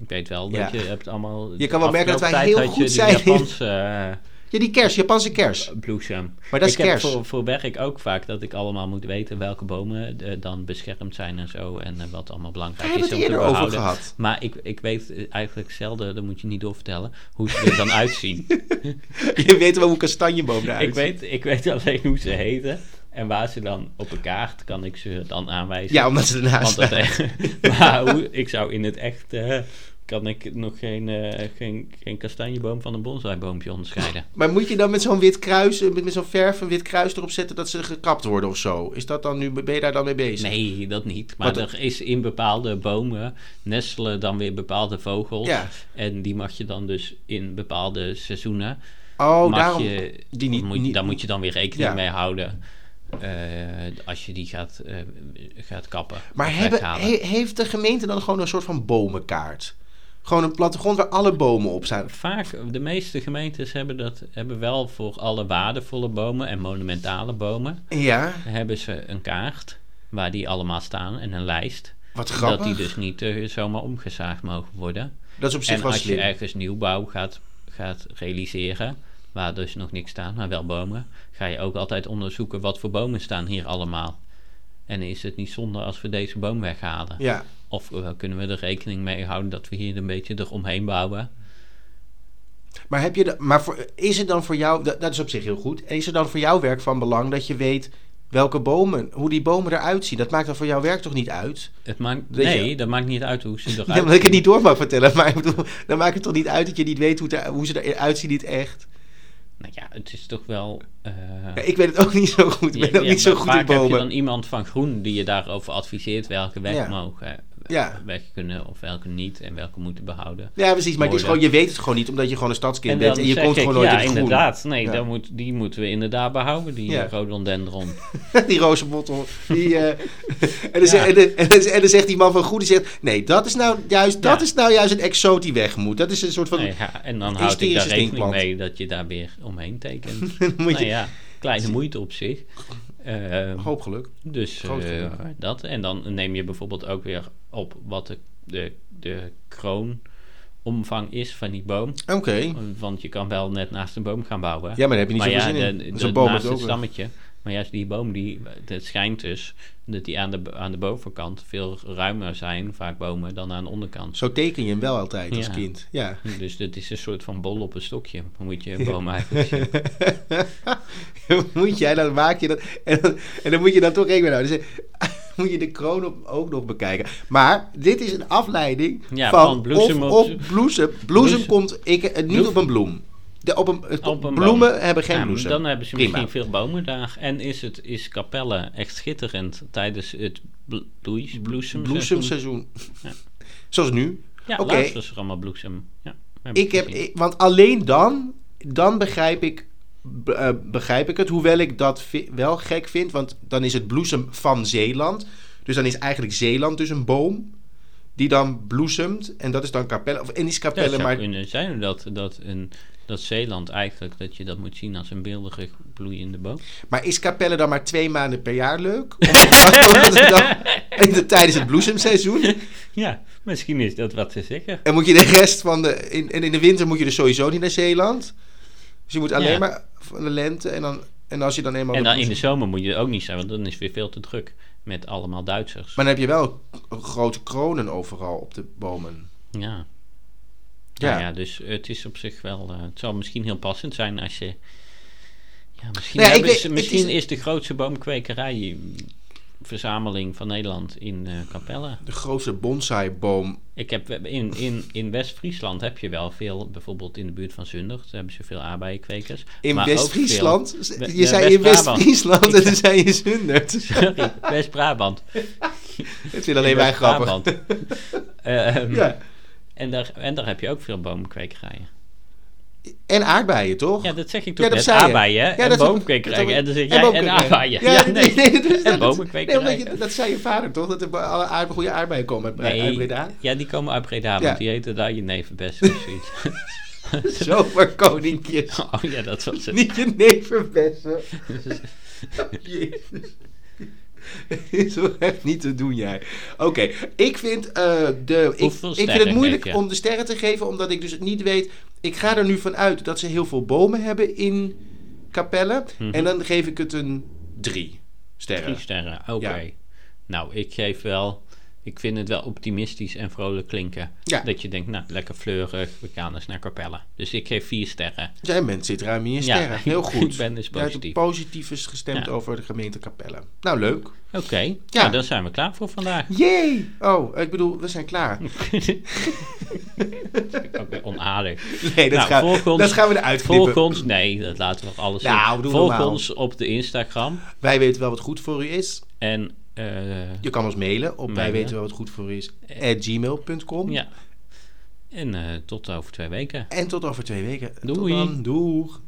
Ik weet wel dat
Ja.
je hebt allemaal.
Je kan wel merken dat wij
afgelopen
heel
tijd had je
goed
die
zijn in-
Japanse eh,
Ja, die kers, Japanse kers.
bloesem.
Maar dat is
ik heb
kers.
voor, voor werk ook vaak dat ik allemaal moet weten welke bomen eh, dan beschermd zijn en zo. En eh, wat allemaal
Daar
belangrijk
hebben
is
we
om
het
te
eerder over
behouden.
gehad.
Maar ik, ik weet eh, eigenlijk zelden, dat moet je niet doorvertellen, hoe ze er dan uitzien.
Je weet wel hoe een kastanjeboom eruit
ik, weet, ik weet alleen hoe ze heten en waar ze dan op een kaart kan ik ze dan aanwijzen.
Ja, omdat ze ernaast
Want dat,
staan.
maar hoe, ik zou in het echt, eh, kan ik nog geen, eh, geen, geen kastanjeboom van een bonsaiboompje onderscheiden.
Maar moet je dan met zo'n wit kruis, eh, met, met zo'n verf een wit kruis erop zetten dat ze gekapt worden of zo? Is dat dan nu, ben je daar dan mee bezig?
Nee, dat niet. Maar
Wat-
er is in bepaalde bomen nestelen dan weer bepaalde vogels.
Ja.
En die mag je dan dus in bepaalde seizoenen.
Oh,
mag
daarom.
je,
die niet-
moet,
niet-
daar moet je dan weer rekening
Ja.
mee houden. eh, als je die gaat, eh, gaat kappen.
Maar
of
hebben,
weghalen.
he- heeft de gemeente dan gewoon een soort van bomenkaart? Gewoon een plattegrond waar alle bomen op staan.
Vaak, de meeste gemeentes hebben dat hebben wel voor alle waardevolle bomen en monumentale bomen.
Ja,
Hebben ze een kaart waar die allemaal staan en een lijst.
wat grappig.
Dat die dus niet eh, zomaar omgezaagd mogen worden.
Dat is op zich
En
wel
als je
slim.
ergens nieuwbouw gaat, gaat realiseren, waar dus nog niks staat, maar wel bomen, ga je ook altijd onderzoeken wat voor bomen staan hier allemaal. En is het niet zonde als we deze boom weghalen?
Ja,
Of eh, kunnen we er rekening mee houden dat we hier een beetje eromheen bouwen?
maar, heb je de, maar voor, is het dan voor jou, dat, dat is op zich heel goed, is het dan voor jouw werk van belang dat je weet welke bomen, hoe die bomen eruit zien? Dat maakt dan voor jouw werk toch niet uit?
Het maakt,
Weet je-
nee, dat maakt niet uit hoe ze eruit
Ja, omdat ik het niet door mag vertellen, maar ik bedoel, dan maakt het toch niet uit dat je niet weet hoe, het er- hoe ze eruit zien, niet echt?
Nou ja, het is toch wel... eh,
Ja, ik weet het ook niet zo goed. Ik ben
je-
ook
je-
niet zo goed
vaak
in
heb je
bomen.
dan iemand van Groen die je daarover adviseert welke weg
Ja.
mogen. eh,
Ja.
Weg kunnen of welke niet en welke moeten behouden.
Ja, precies. Maar het is gewoon,
Mooi,
je weet het gewoon niet, omdat je gewoon een stadskind
En
bent
dan
en je
zeg
komt
ik,
gewoon nooit
ja,
in het groen.
inderdaad. Nee,
Ja.
dan moet, die moeten we inderdaad behouden, die
Ja.
rhododendron.
die roze bottel. Die, eh, en, dan
Ja.
zegt, en, dan- en dan- en dan zegt die man van Goede, zegt, nee, dat is nou juist, dat
Ja.
is nou juist een exoot die weg moet. Dat is een soort van,
Nou ja, en dan houd ik daar
hysterische
rekening
stinkplant.
mee dat je daar weer omheen tekent.
moet
nou
je,
ja, kleine moeite op zich. Ehm,
hoop geluk.
Dus
Groot
eh,
geluk.
dat. En dan neem je bijvoorbeeld ook weer op wat de, de, de kroonomvang is van die boom.
Oké.
Want je kan wel net naast een boom gaan bouwen.
Hm. Ja, maar daar heb je niet
maar ja,
zoveel zin
de-
in.
de-
Zo'n boom
naast
is
het
ook... een-
stammetje. Maar juist die boom, die, het schijnt dus dat die aan de, aan de bovenkant veel ruimer zijn, vaak bomen, dan aan de onderkant.
Zo teken je hem wel altijd als
Ja.
kind. Ja.
Dus dat is een soort van bol op een stokje, moet je een boom eigenlijk zien.
moet jij dan maak je dat en dan, en dan moet je dan toch rekening mee houden. Dus, eh, moet je de kroon op, ook nog bekijken. Maar dit is een afleiding
Ja,
van,
van bloesem
of,
op-
op bloesem. Bloesem,
Bloesem.
komt ik, eh, niet
Bloem.
op een bloem. De, op een, het-
Op een
bloemen
boom.
hebben geen
Ja,
bloesem.
Nou, Dan hebben ze
Prima.
misschien veel bomen daar. En is, het, is Capelle echt schitterend tijdens het bl- bloeis- bloesem?
Bloesemseizoen.
Ja.
Zoals nu.
Ja,
Oké.
laatst was er allemaal bloesem. Ja, heb
Ik heb, e-
gezien.
ik- want alleen dan, dan begrijp ik, be- eh, begrijp ik het. Hoewel ik dat vi- wel gek vind, want dan is het bloesem van Zeeland. Dus dan is eigenlijk Zeeland dus een boom die dan bloesemt. En dat is dan Capelle. Of, en is
Ja, het
Capelle
zou
maar...
kunnen zijn dat, dat, een, dat Zeeland eigenlijk, dat je dat moet zien als een beeldige bloeiende boom.
Maar is Capelle dan maar twee maanden per jaar leuk? Omdat, omdat het dan in de, tijdens het bloesemseizoen.
Ja, misschien is dat wat te zeggen.
En moet je de rest van de... In, en in de winter moet je dus sowieso niet naar Zeeland. Dus je moet alleen
Ja.
maar van de lente. En, dan, en als je dan eenmaal...
En
de
dan in de
bloesem-
zomer moet je er ook niet zijn, want dan is het weer veel te druk met allemaal Duitsers.
Maar dan heb je wel grote kronen overal op de bomen.
Ja.
Ja.
Ja. ja, dus het is op zich wel. eh, het zou misschien heel passend zijn als je. Ja, misschien,
Nou ja, ik
hebben
weet-
ze-
het
misschien
is-
is... de grootste boomkwekerijverzameling van Nederland in eh Capelle.
De grootste bonsaiboom.
Ik heb in, in, in West-Friesland heb je wel veel, bijvoorbeeld in de buurt van Zundert, daar hebben ze veel aardbeienkwekers.
In
maar ook
West-Friesland?
We-
Je
de
zei in
West-Brabant.
West-Friesland en toen zei je Zundert.
veel- Sorry, West-Brabant.
Dat vinden alleen wij grappig.
West-Brabant. Ehm,
Ja.
en, daar, en daar heb je ook veel boomkwekerijen.
En aardbeien, toch?
Ja, dat zeg ik
Ja,
toch
dat
net,
zei je.
aardbeien
Ja,
en
dat-
boomkwekerijen.
dat-
En dan zeg
en
jij Dus en
boomkwekerijen.
aardbeien.
Ja, nee, nee, dat is- dat
en
is- Nee, omdat je,
boomkwekerijen.
dat zei je vader, toch? Dat er bo- alle aard, goede aardbeien komen uit,
Nee,
uit Breda.
ja, die komen uit Breda,
Ja.
want die heten daar je nevenbest of zoiets.
Zomaar koninkjes.
oh ja, dat was het.
Niet je nevenbessen. Jezus. is wel echt niet te doen, jij. Oké, ik vind eh, de. Ik,
Hoeveel
ik vind
sterren
het moeilijk
geef je?
om de sterren te geven, omdat ik dus niet weet. Ik ga er nu vanuit dat ze heel veel bomen hebben in Capelle.
Mhm.
En dan geef ik het een drie sterren.
Drie sterren, oké.
Ja.
Nou, ik geef wel... Ik vind het wel optimistisch en vrolijk klinken.
Ja.
Dat je denkt, nou, lekker fleurig, we gaan eens naar Capelle. Dus ik geef vier sterren.
Jij bent zit ruim in je
Ja,
sterren. heel
ik-
goed.
ik ben dus
Jij hebt
positief.
positief is gestemd
Ja.
over de gemeente Capelle. Nou, leuk.
Oké, nou, dan zijn we klaar voor vandaag.
Jee! Oh, ik bedoel, we zijn klaar.
Ook weer onaardig.
Nee, dat,
Nou,
gaan,
volg ons-
dat gaan we eruit knippen.
Volg ons, nee, dat laten we alles
Nou,
in.
doe
Volg
normaal.
ons op de Instagram.
Wij weten wel wat goed voor u is.
En eh,
Je kan ons mailen op wij
Mailen.
weten wel wat goed voor u is. at gmail.com.
ja. En eh, tot over twee weken.
En tot over twee weken. Tot
Doei.
dan. Doeg.